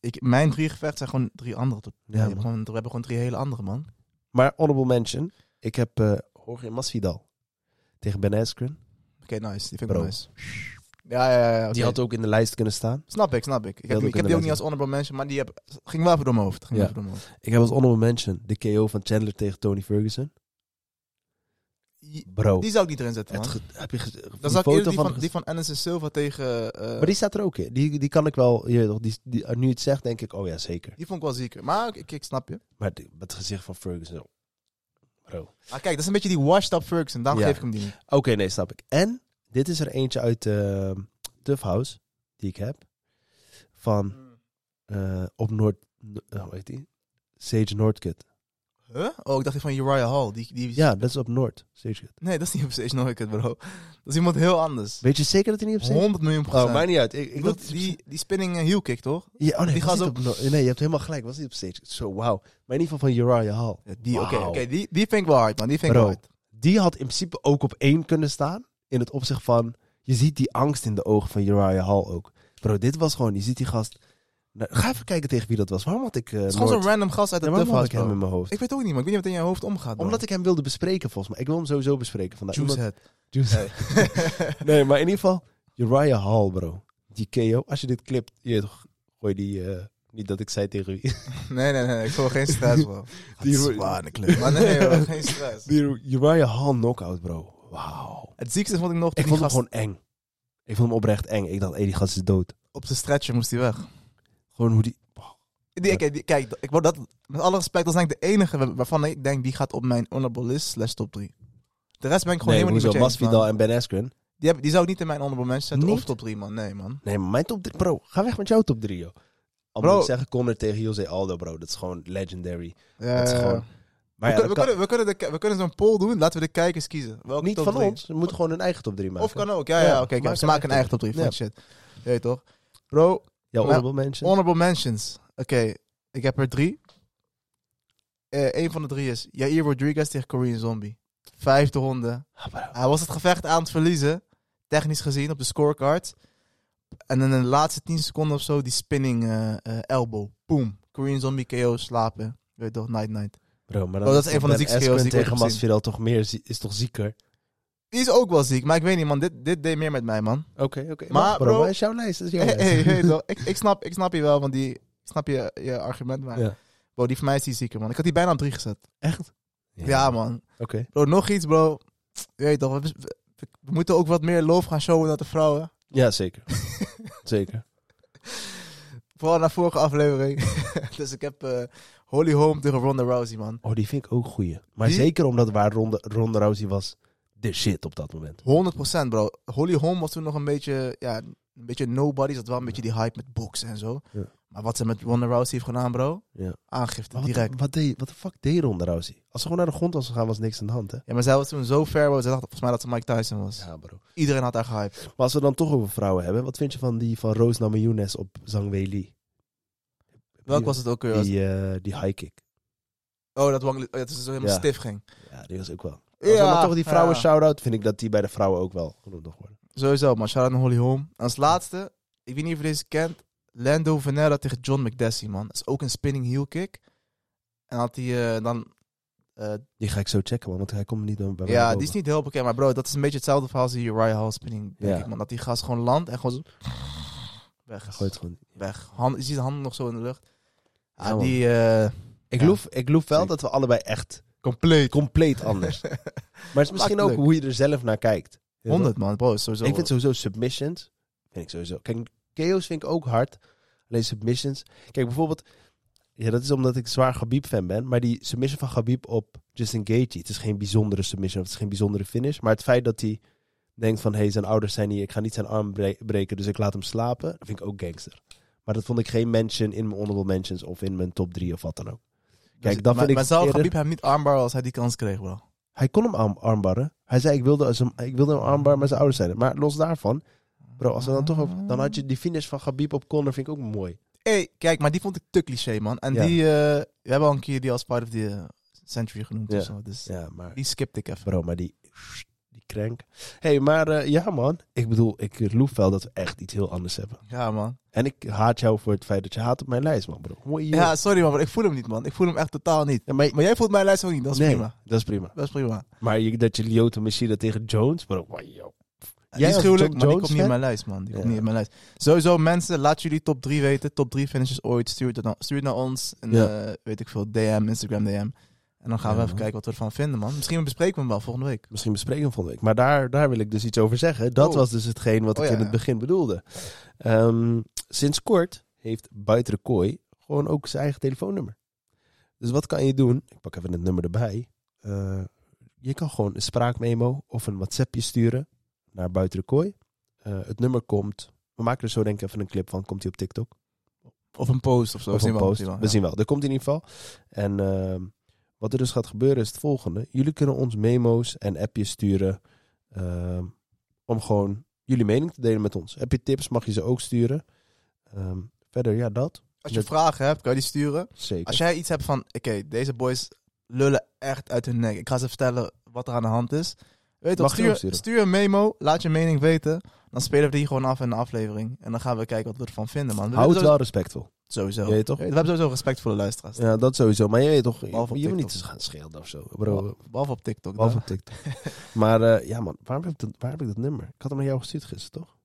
[SPEAKER 5] ik- mijn drie gevechten zijn gewoon drie andere. tot-
[SPEAKER 4] Ja,
[SPEAKER 5] ja, je hebt
[SPEAKER 4] man.
[SPEAKER 5] gewoon, we hebben gewoon drie hele andere, man.
[SPEAKER 4] Maar honorable mention, ik heb eh Jorge Masvidal tegen Ben Askren.
[SPEAKER 5] Oké, nice. Die vind ik wel
[SPEAKER 4] Bro.
[SPEAKER 5] nice. Ja, ja, ja. ja, oké.
[SPEAKER 4] Die had ook in de lijst kunnen staan.
[SPEAKER 5] Snap ik, snap ik. Ik
[SPEAKER 4] had
[SPEAKER 5] heb,
[SPEAKER 4] ook
[SPEAKER 5] ik heb die
[SPEAKER 4] inderdaad
[SPEAKER 5] ook niet als honorable mention, maar die heb, ging wel even door mijn hoofd. Ging
[SPEAKER 4] Ja.
[SPEAKER 5] wel even door mijn hoofd.
[SPEAKER 4] Ik heb als honorable mention de KO van Chandler tegen Tony Ferguson.
[SPEAKER 5] Die-
[SPEAKER 4] Bro,
[SPEAKER 5] Die zou ik niet erin zetten,
[SPEAKER 4] het
[SPEAKER 5] man.
[SPEAKER 4] ge- heb je ge- een
[SPEAKER 5] Dan zou ik eerder
[SPEAKER 4] foto
[SPEAKER 5] die van,
[SPEAKER 4] van
[SPEAKER 5] die van Anderson Silva tegen... eh,
[SPEAKER 4] Maar die staat er ook in. Die, die kan ik wel, je weet toch, die, die, nu je het zegt, denk ik, oh ja, zeker.
[SPEAKER 5] Die vond ik wel zieker. Maar ik, ik snap je.
[SPEAKER 4] Maar die- het gezicht van Ferguson, bro.
[SPEAKER 5] Ah, kijk, dat is een beetje die washed up Ferguson. Daarom
[SPEAKER 4] Ja.
[SPEAKER 5] geef ik hem die niet.
[SPEAKER 4] Oké, nee, snap ik. En dit is er eentje uit eh Tough House die ik heb. Van
[SPEAKER 5] Hmm.
[SPEAKER 4] eh, op Noord. eh, hoe heet die? Sage Noordkut.
[SPEAKER 5] Huh? Oh, ik dacht die van Uriah Hall. Die, die...
[SPEAKER 4] Ja, dat is op Noord. Sage Kut.
[SPEAKER 5] Nee, dat is niet op stage nooit, bro. Dat is iemand heel anders.
[SPEAKER 4] Weet je zeker dat hij niet op Sage
[SPEAKER 5] 100 miljoen procent.
[SPEAKER 4] Oh, maakt niet uit. Ik, ik
[SPEAKER 5] Ik
[SPEAKER 4] dacht
[SPEAKER 5] bedoel, die, die spinning eh, heel kick, toch?
[SPEAKER 4] Ja, oh nee,
[SPEAKER 5] die
[SPEAKER 4] was
[SPEAKER 5] gast
[SPEAKER 4] niet
[SPEAKER 5] ook.
[SPEAKER 4] op Noord. Nee, je hebt helemaal gelijk. Was niet op Sage Kut. Zo, wauw. Maar in ieder geval van Uriah Hall.
[SPEAKER 5] Die, oké,
[SPEAKER 4] Wauw.
[SPEAKER 5] oké, die, die vind ik wel hard, man. Die vind ik
[SPEAKER 4] Bro.
[SPEAKER 5] wel hard.
[SPEAKER 4] Die had in principe ook op één kunnen staan. In het opzicht van, je ziet die angst in de ogen van Uriah Hall ook. Bro, dit was gewoon, je ziet die gast... Nou, ga even kijken tegen wie dat was. Waarom had ik eh
[SPEAKER 5] Het is
[SPEAKER 4] Noord-
[SPEAKER 5] gewoon zo'n random gast uit
[SPEAKER 4] Ja,
[SPEAKER 5] de
[SPEAKER 4] waarom
[SPEAKER 5] Tough
[SPEAKER 4] had
[SPEAKER 5] House,
[SPEAKER 4] ik hem in
[SPEAKER 5] bro.
[SPEAKER 4] mijn hoofd?
[SPEAKER 5] Ik weet ook niet, man. Ik weet niet wat in je hoofd omgaat, bro.
[SPEAKER 4] Omdat ik hem wilde bespreken, volgens mij. Ik wil hem sowieso bespreken vandaag.
[SPEAKER 5] Juice
[SPEAKER 4] Omdat-
[SPEAKER 5] had.
[SPEAKER 4] Juice- nee, maar in ieder geval, Uriah Hall, bro. Die KO, als je dit clipt, je weet toch, gooi die... eh, niet dat ik zei tegen wie.
[SPEAKER 5] Nee, nee, nee. Ik voel geen stress, bro.
[SPEAKER 4] Die-
[SPEAKER 5] Die zwaar in de club. Maar nee, bro, geen stress.
[SPEAKER 4] Die Uriah Hall knockout, bro. Wauw.
[SPEAKER 5] Het ziekste vond ik nog...
[SPEAKER 4] Ik
[SPEAKER 5] die
[SPEAKER 4] vond hem
[SPEAKER 5] gast-
[SPEAKER 4] gewoon eng. Ik vond hem oprecht eng. Ik dacht, hé, die gast is dood.
[SPEAKER 5] Op zijn stretcher moest hij weg.
[SPEAKER 4] Gewoon hoe die...
[SPEAKER 5] Die, kijk, die- kijk, ik word dat, met alle respect, dat is denk ik de enige wa- waarvan ik denk die gaat op mijn honorable list slash top 3. De rest ben ik gewoon
[SPEAKER 4] Nee,
[SPEAKER 5] helemaal
[SPEAKER 4] hoezo?
[SPEAKER 5] niet met je eens,
[SPEAKER 4] Masvidal
[SPEAKER 5] man.
[SPEAKER 4] en Ben Askren.
[SPEAKER 5] Die, heb, die zou ik niet in mijn honorable mention zetten of
[SPEAKER 4] Niet?
[SPEAKER 5] top 3, man. Nee, man.
[SPEAKER 4] Nee, maar mijn top 3, bro. Ga weg met jouw top 3, joh. Al
[SPEAKER 5] Bro.
[SPEAKER 4] moet ik zeggen, Conor tegen Jose Aldo, bro. Dat is gewoon legendary.
[SPEAKER 5] Ja,
[SPEAKER 4] dat is
[SPEAKER 5] ja, ja.
[SPEAKER 4] gewoon... Maar ja,
[SPEAKER 5] Eh, we,
[SPEAKER 4] dat
[SPEAKER 5] kunnen-
[SPEAKER 4] kan-
[SPEAKER 5] we kunnen, we, kunnen de, we kunnen zo'n poll doen. Laten we de kijkers kiezen. Welke
[SPEAKER 4] niet
[SPEAKER 5] top
[SPEAKER 4] van
[SPEAKER 5] drie?
[SPEAKER 4] ons. Ze moeten gewoon hun eigen top 3 maken.
[SPEAKER 5] Of kan ook. Ja, ja,
[SPEAKER 4] Ja,
[SPEAKER 5] oké. kijk,
[SPEAKER 4] maak
[SPEAKER 5] ze
[SPEAKER 4] een
[SPEAKER 5] maken een eigen
[SPEAKER 4] eigen
[SPEAKER 5] top 3 van
[SPEAKER 4] Ja.
[SPEAKER 5] shit. Je weet toch? Bro,
[SPEAKER 4] Jouw
[SPEAKER 5] Ja.
[SPEAKER 4] honorable mention.
[SPEAKER 5] honorable mentions. Oké, ik heb er drie. Eén van de drie is Jair Rodriguez tegen Korean Zombie. Vijfde ronde.
[SPEAKER 4] Ah, bro.
[SPEAKER 5] Hij was het gevecht aan het verliezen, technisch gezien, op de scorecard. En in de laatste 10 seconden of zo, die spinning eh, eh, elbow. Boom. Korean Zombie KO, slapen. Je Weet toch, night night.
[SPEAKER 4] Bro, maar
[SPEAKER 5] Oh, dat is een van de
[SPEAKER 4] Ben
[SPEAKER 5] ziekste KO's die ik ooit
[SPEAKER 4] tegen
[SPEAKER 5] heb
[SPEAKER 4] Masvidal toch meer zie- is toch zieker.
[SPEAKER 5] Die is ook wel ziek, maar ik weet niet man, dit, dit deed meer met mij man.
[SPEAKER 4] Oké, oké.
[SPEAKER 5] Maar,
[SPEAKER 4] Maar bro,
[SPEAKER 5] bro-
[SPEAKER 4] wat is jouw lijst? Dat is jouw
[SPEAKER 5] Hey,
[SPEAKER 4] lijst.
[SPEAKER 5] hey, hey, toch? ik, ik, snap, ik snap je wel, want die, ik snap je, je argument, maar
[SPEAKER 4] Ja.
[SPEAKER 5] bro, die van mij is die zieker man. Ik had die bijna op drie gezet.
[SPEAKER 4] Echt?
[SPEAKER 5] Ja, man.
[SPEAKER 4] Oké.
[SPEAKER 5] Bro, nog iets bro. Je weet toch, we, we- we moeten ook wat meer loof gaan showen naar de vrouwen.
[SPEAKER 4] Ja, zeker. zeker.
[SPEAKER 5] Vooral naar vorige aflevering. dus ik heb eh, Holly Holm tegen Ronda Rousey, man.
[SPEAKER 4] Oh, die vind ik ook goeie. Maar
[SPEAKER 5] Die?
[SPEAKER 4] zeker omdat waar Ronda, Ronda Rousey was de shit op dat moment.
[SPEAKER 5] 100% bro. Holly Holm was toen nog een beetje, ja, een beetje nobody. Zat wel een beetje die hype met boksen en zo.
[SPEAKER 4] Ja.
[SPEAKER 5] Maar wat ze met Ronda Rousey heeft gedaan, bro.
[SPEAKER 4] Ja.
[SPEAKER 5] Aangifte,
[SPEAKER 4] Maar wat,
[SPEAKER 5] direct.
[SPEAKER 4] Wat, deed, wat de fuck deed Ronda Rousey? Als ze gewoon naar de grond was gegaan, was niks aan de hand, hè?
[SPEAKER 5] Ja, maar zij was toen zo ver, bro. Ze dacht volgens mij dat ze Mike Tyson was.
[SPEAKER 4] Ja, bro.
[SPEAKER 5] Iedereen had haar gehyped.
[SPEAKER 4] Maar als we dan toch over vrouwen hebben, wat vind je van die van Roos Namajunas op Zhang Li?
[SPEAKER 5] Welk was het ook weer?
[SPEAKER 4] Die, eh, die high kick.
[SPEAKER 5] Oh, dat Wang Li- oh, ja, dat ze zo helemaal
[SPEAKER 4] Ja.
[SPEAKER 5] stif ging.
[SPEAKER 4] Ja, die was ook wel. Als we dan toch die vrouwen shout-out, vind ik dat die bij de vrouwen ook wel genoemd nog worden.
[SPEAKER 5] Sowieso, man. Shout-out naar Holly Holm. Als laatste, ik weet niet of je deze kent. Lando Vanella tegen John McDessie, man. Dat is ook een spinning heel kick. En had hij eh, dan... eh,
[SPEAKER 4] Die ga ik zo checken, man, want hij komt niet bij mij
[SPEAKER 5] ja,
[SPEAKER 4] boven.
[SPEAKER 5] die is niet heel bekend. Maar bro, dat is een beetje hetzelfde verhaal als die Uriah Hall spinning, denk
[SPEAKER 4] Ja.
[SPEAKER 5] ik, man. Dat die gast gewoon landt en gewoon zo... Weg. is.
[SPEAKER 4] Gooit gewoon.
[SPEAKER 5] Weg. Hand, je ziet de handen nog zo in de lucht.
[SPEAKER 4] Ja,
[SPEAKER 5] Ja,
[SPEAKER 4] man.
[SPEAKER 5] die... eh,
[SPEAKER 4] Ik,
[SPEAKER 5] Ja.
[SPEAKER 4] geloof, ik geloof wel
[SPEAKER 5] Zeker.
[SPEAKER 4] dat we allebei echt
[SPEAKER 5] Compleet.
[SPEAKER 4] compleet anders. maar het is misschien ook
[SPEAKER 5] leuk.
[SPEAKER 4] hoe je er zelf naar kijkt.
[SPEAKER 5] 100, man. Bro, is sowieso...
[SPEAKER 4] Ik vind sowieso submissions. Vind ik sowieso. Kijk, KO's vind ik ook hard. Alleen submissions. Kijk, bijvoorbeeld. Ja, dat is omdat ik zwaar Gabib-fan ben. Maar die submission van Gabib op Justin Gaethje. Het is geen bijzondere submission. Of het is geen bijzondere finish. Maar het feit dat hij denkt van... Hé, hey, zijn ouders zijn hier. Ik ga niet zijn arm bre- breken. Dus ik laat hem slapen. Dat vind ik ook gangster. Maar dat vond ik geen mention in mijn honorable mentions. Of in mijn top drie of wat dan ook.
[SPEAKER 5] Dus
[SPEAKER 4] Kijk, dat
[SPEAKER 5] maar,
[SPEAKER 4] vind ik
[SPEAKER 5] maar zou
[SPEAKER 4] eerder-
[SPEAKER 5] Khabib hem niet armbar als hij die kans kreeg, bro?
[SPEAKER 4] Hij kon hem arm- armbarren. Hij zei, ik wilde, als hem, ik wilde hem armbarren, maar zijn ouders zeiden. Maar los daarvan, bro, als we dan toch over- Dan had je die finish van Gabib op Conor, vind ik ook mooi.
[SPEAKER 5] Hey, kijk, maar die vond ik te cliché, man. En
[SPEAKER 4] Ja.
[SPEAKER 5] die, eh, we hebben al een keer die als part of the eh, century genoemd
[SPEAKER 4] Ja.
[SPEAKER 5] of zo. Dus
[SPEAKER 4] Ja, maar...
[SPEAKER 5] die skipte ik even.
[SPEAKER 4] Bro, maar die... Die crank. hey, maar eh, ja man. Ik bedoel, ik loef wel dat we echt iets heel anders hebben.
[SPEAKER 5] Ja, man.
[SPEAKER 4] En ik haat jou voor het feit dat je haat op mijn lijst, man, bro. Mooi joh.
[SPEAKER 5] Ja, sorry, man, maar ik voel hem niet, man. Ik voel hem echt totaal niet.
[SPEAKER 4] Ja, maar...
[SPEAKER 5] Maar jij voelt mijn lijst ook niet, dat is
[SPEAKER 4] nee,
[SPEAKER 5] prima.
[SPEAKER 4] dat is prima.
[SPEAKER 5] Dat is prima.
[SPEAKER 4] Maar je, dat je Lyoto Machida tegen Jones, bro. wow, joh.
[SPEAKER 5] die is
[SPEAKER 4] als
[SPEAKER 5] gruwelijk,
[SPEAKER 4] John
[SPEAKER 5] maar die
[SPEAKER 4] Jones
[SPEAKER 5] komt niet in
[SPEAKER 4] fan?
[SPEAKER 5] mijn lijst, man. Die komt
[SPEAKER 4] Ja.
[SPEAKER 5] niet in mijn lijst. Sowieso, mensen, laat jullie top 3 weten. Top 3 finishes ooit. Stuur het naar, stuur het naar ons. En,
[SPEAKER 4] Ja.
[SPEAKER 5] eh, weet ik veel, DM, Instagram DM. En dan gaan
[SPEAKER 4] Ja,
[SPEAKER 5] we even
[SPEAKER 4] man.
[SPEAKER 5] kijken wat we ervan vinden, man. Misschien bespreken we hem wel volgende week.
[SPEAKER 4] Misschien bespreken we hem volgende week. Maar daar, daar wil ik dus iets over zeggen. Dat
[SPEAKER 5] Oh.
[SPEAKER 4] was dus hetgeen wat
[SPEAKER 5] Oh,
[SPEAKER 4] ik
[SPEAKER 5] ja,
[SPEAKER 4] in het
[SPEAKER 5] ja.
[SPEAKER 4] begin bedoelde. Ehm, sinds kort heeft Buiten de Kooi gewoon ook zijn eigen telefoonnummer. Dus wat kan je doen? Ik pak even het nummer erbij. Eh, je kan gewoon een spraakmemo of een WhatsAppje sturen naar Buiten de Kooi. Eh, het nummer komt... We maken er zo denk ik even een clip van. Komt die op TikTok?
[SPEAKER 5] Of een post of zo.
[SPEAKER 4] Of
[SPEAKER 5] Zien
[SPEAKER 4] een
[SPEAKER 5] we wel,
[SPEAKER 4] post.
[SPEAKER 5] zien we wel,
[SPEAKER 4] We
[SPEAKER 5] ja.
[SPEAKER 4] zien wel. Er komt in ieder geval. En ehm, wat er dus gaat gebeuren is het volgende. Jullie kunnen ons memo's en appjes sturen. ehm, om gewoon jullie mening te delen met ons. Heb je tips, mag je ze ook sturen. Ehm, verder, ja, dat.
[SPEAKER 5] Als je vragen hebt, kan je die sturen.
[SPEAKER 4] Zeker.
[SPEAKER 5] Als jij iets hebt van, oké, deze boys lullen echt uit hun nek. Ik ga ze vertellen wat er aan de hand is. Weet je,
[SPEAKER 4] Mag je
[SPEAKER 5] stuur,
[SPEAKER 4] opsturen.
[SPEAKER 5] stuur een memo, laat je mening weten. Dan spelen we die gewoon af in de aflevering. En dan gaan we kijken wat we ervan vinden, man. We
[SPEAKER 4] Hou het
[SPEAKER 5] hebben
[SPEAKER 4] wel respectvoel.
[SPEAKER 5] Sowieso.
[SPEAKER 4] Je weet toch?
[SPEAKER 5] We hebben sowieso respect voor de luisteraars.
[SPEAKER 4] Ja, dat sowieso. Maar je weet toch, je,
[SPEAKER 5] Behalve op
[SPEAKER 4] je moet niet
[SPEAKER 5] TikTok.
[SPEAKER 4] eens gaan schelden of zo.
[SPEAKER 5] Behalve-
[SPEAKER 4] Bro,
[SPEAKER 5] Behalve op TikTok.
[SPEAKER 4] behalve
[SPEAKER 5] dan.
[SPEAKER 4] op TikTok. maar eh, ja man, waarom heb, ik dat, waar heb ik dat nummer? Ik had hem naar jou gestuurd gisteren, toch?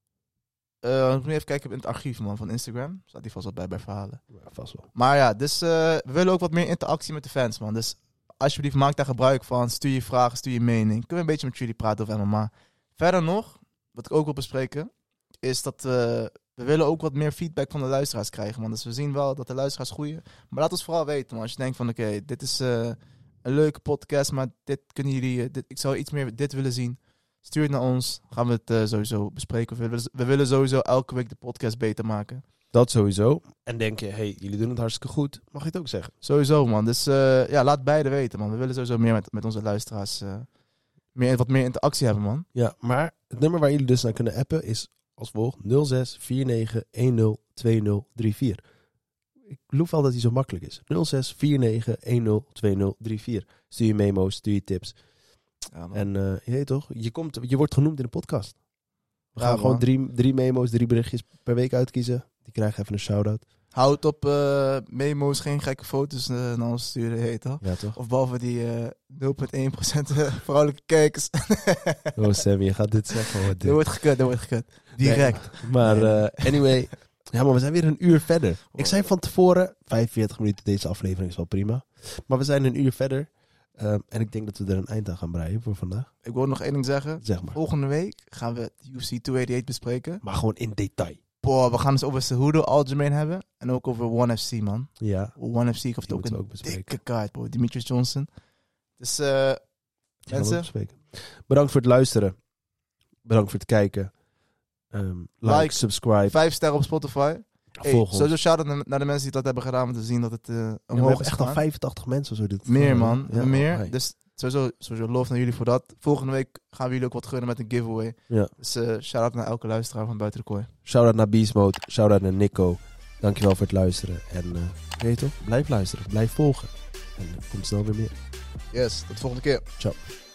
[SPEAKER 5] Eh, ik moet even kijken in het archief, man, van Instagram. Staat die vast wel bij bij verhalen.
[SPEAKER 4] Ja, vast wel.
[SPEAKER 5] Maar ja, dus eh, we willen ook wat meer interactie met de fans, man. Dus alsjeblieft, maak daar gebruik van. Stuur je vragen, stuur je mening. Kunnen we een beetje met jullie praten over MMA. Verder nog, wat ik ook wil bespreken, is dat eh, we willen ook wat meer feedback van de luisteraars krijgen, man. Dus we zien wel dat de luisteraars groeien. Maar laat ons vooral weten, man. Als je denkt van, oké, dit is eh, een leuke podcast, maar dit kunnen jullie... eh, dit, ik zou iets meer dit willen zien. Stuur het naar ons. Gaan we het eh, sowieso bespreken. We willen, we willen sowieso elke week de podcast beter maken.
[SPEAKER 4] Dat sowieso. En denk je, hé, hey, jullie doen het hartstikke goed. Mag je het ook zeggen.
[SPEAKER 5] Sowieso, man. Dus eh, ja, laat beide weten, man. We willen sowieso meer met, met onze luisteraars. eh, meer, wat meer interactie hebben, man.
[SPEAKER 4] Ja, maar het nummer waar jullie dus naar kunnen appen is als volgt. 06 49 10 20 34. Ik loef al dat hij zo makkelijk is. 06 49 10 20 34. Stuur je memo's, stuur je tips.
[SPEAKER 5] Ja, man.
[SPEAKER 4] En eh, je weet toch, je, komt, je wordt genoemd in de podcast. We
[SPEAKER 5] Ja,
[SPEAKER 4] gaan
[SPEAKER 5] man.
[SPEAKER 4] gewoon drie, drie memo's, drie berichtjes per week uitkiezen. Die krijgen even een shout-out.
[SPEAKER 5] Houd op eh, memo's, geen gekke foto's eh, naar ons sturen, heet toch?
[SPEAKER 4] Ja, toch?
[SPEAKER 5] Of behalve die eh 0,1% eh, vrouwelijke kijkers.
[SPEAKER 4] Oh, Sammy, je gaat dit zeggen. hoor,
[SPEAKER 5] dat
[SPEAKER 4] dit.
[SPEAKER 5] wordt gekut, dat wordt gekut. Direct.
[SPEAKER 4] Maar eh, anyway, ja, maar we zijn weer een uur verder. Ik zei van tevoren, 45 minuten deze aflevering is wel prima. Maar we zijn een uur verder. Ehm, en ik denk dat we er een eind aan gaan breien voor vandaag.
[SPEAKER 5] Ik wil nog één ding zeggen.
[SPEAKER 4] Zeg maar.
[SPEAKER 5] Volgende week gaan we de UFC 288 bespreken.
[SPEAKER 4] Maar gewoon in detail.
[SPEAKER 5] Boah, we gaan het over Cejudo algemeen hebben. En ook over One FC, man.
[SPEAKER 4] Ja,
[SPEAKER 5] One FC heeft
[SPEAKER 4] Die
[SPEAKER 5] ook
[SPEAKER 4] moeten
[SPEAKER 5] een
[SPEAKER 4] we ook bespreken.
[SPEAKER 5] dikke kaart, bro. Demetrius Johnson. Dus eh
[SPEAKER 4] die gaan we
[SPEAKER 5] Mensen?
[SPEAKER 4] ook bespreken. Bedankt voor het luisteren. Bedankt voor het kijken. Ehm, like,
[SPEAKER 5] Like,
[SPEAKER 4] subscribe,
[SPEAKER 5] vijf sterren op Spotify. Hey,
[SPEAKER 4] volg ons.
[SPEAKER 5] sowieso shout-out naar- naar de mensen die dat hebben gedaan. Om te zien dat het eh omhoog
[SPEAKER 4] Ja, we hebben
[SPEAKER 5] is
[SPEAKER 4] echt al
[SPEAKER 5] gegaan.
[SPEAKER 4] 85 mensen of zo. Dit
[SPEAKER 5] Meer man,
[SPEAKER 4] Ja,
[SPEAKER 5] meer.
[SPEAKER 4] hey.
[SPEAKER 5] Dus sowieso, sowieso love naar jullie voor dat. Volgende week gaan we jullie ook wat gunnen met een giveaway.
[SPEAKER 4] Ja.
[SPEAKER 5] Dus eh shout-out naar elke luisteraar van Buiten de Kooi.
[SPEAKER 4] Shout-out naar Beast Mode. Shout-out naar Nico. Dankjewel voor het luisteren. En eh weet je toch, blijf luisteren. Blijf volgen. En er komt eh, snel weer meer.
[SPEAKER 5] Yes, tot de volgende keer.
[SPEAKER 4] Ciao.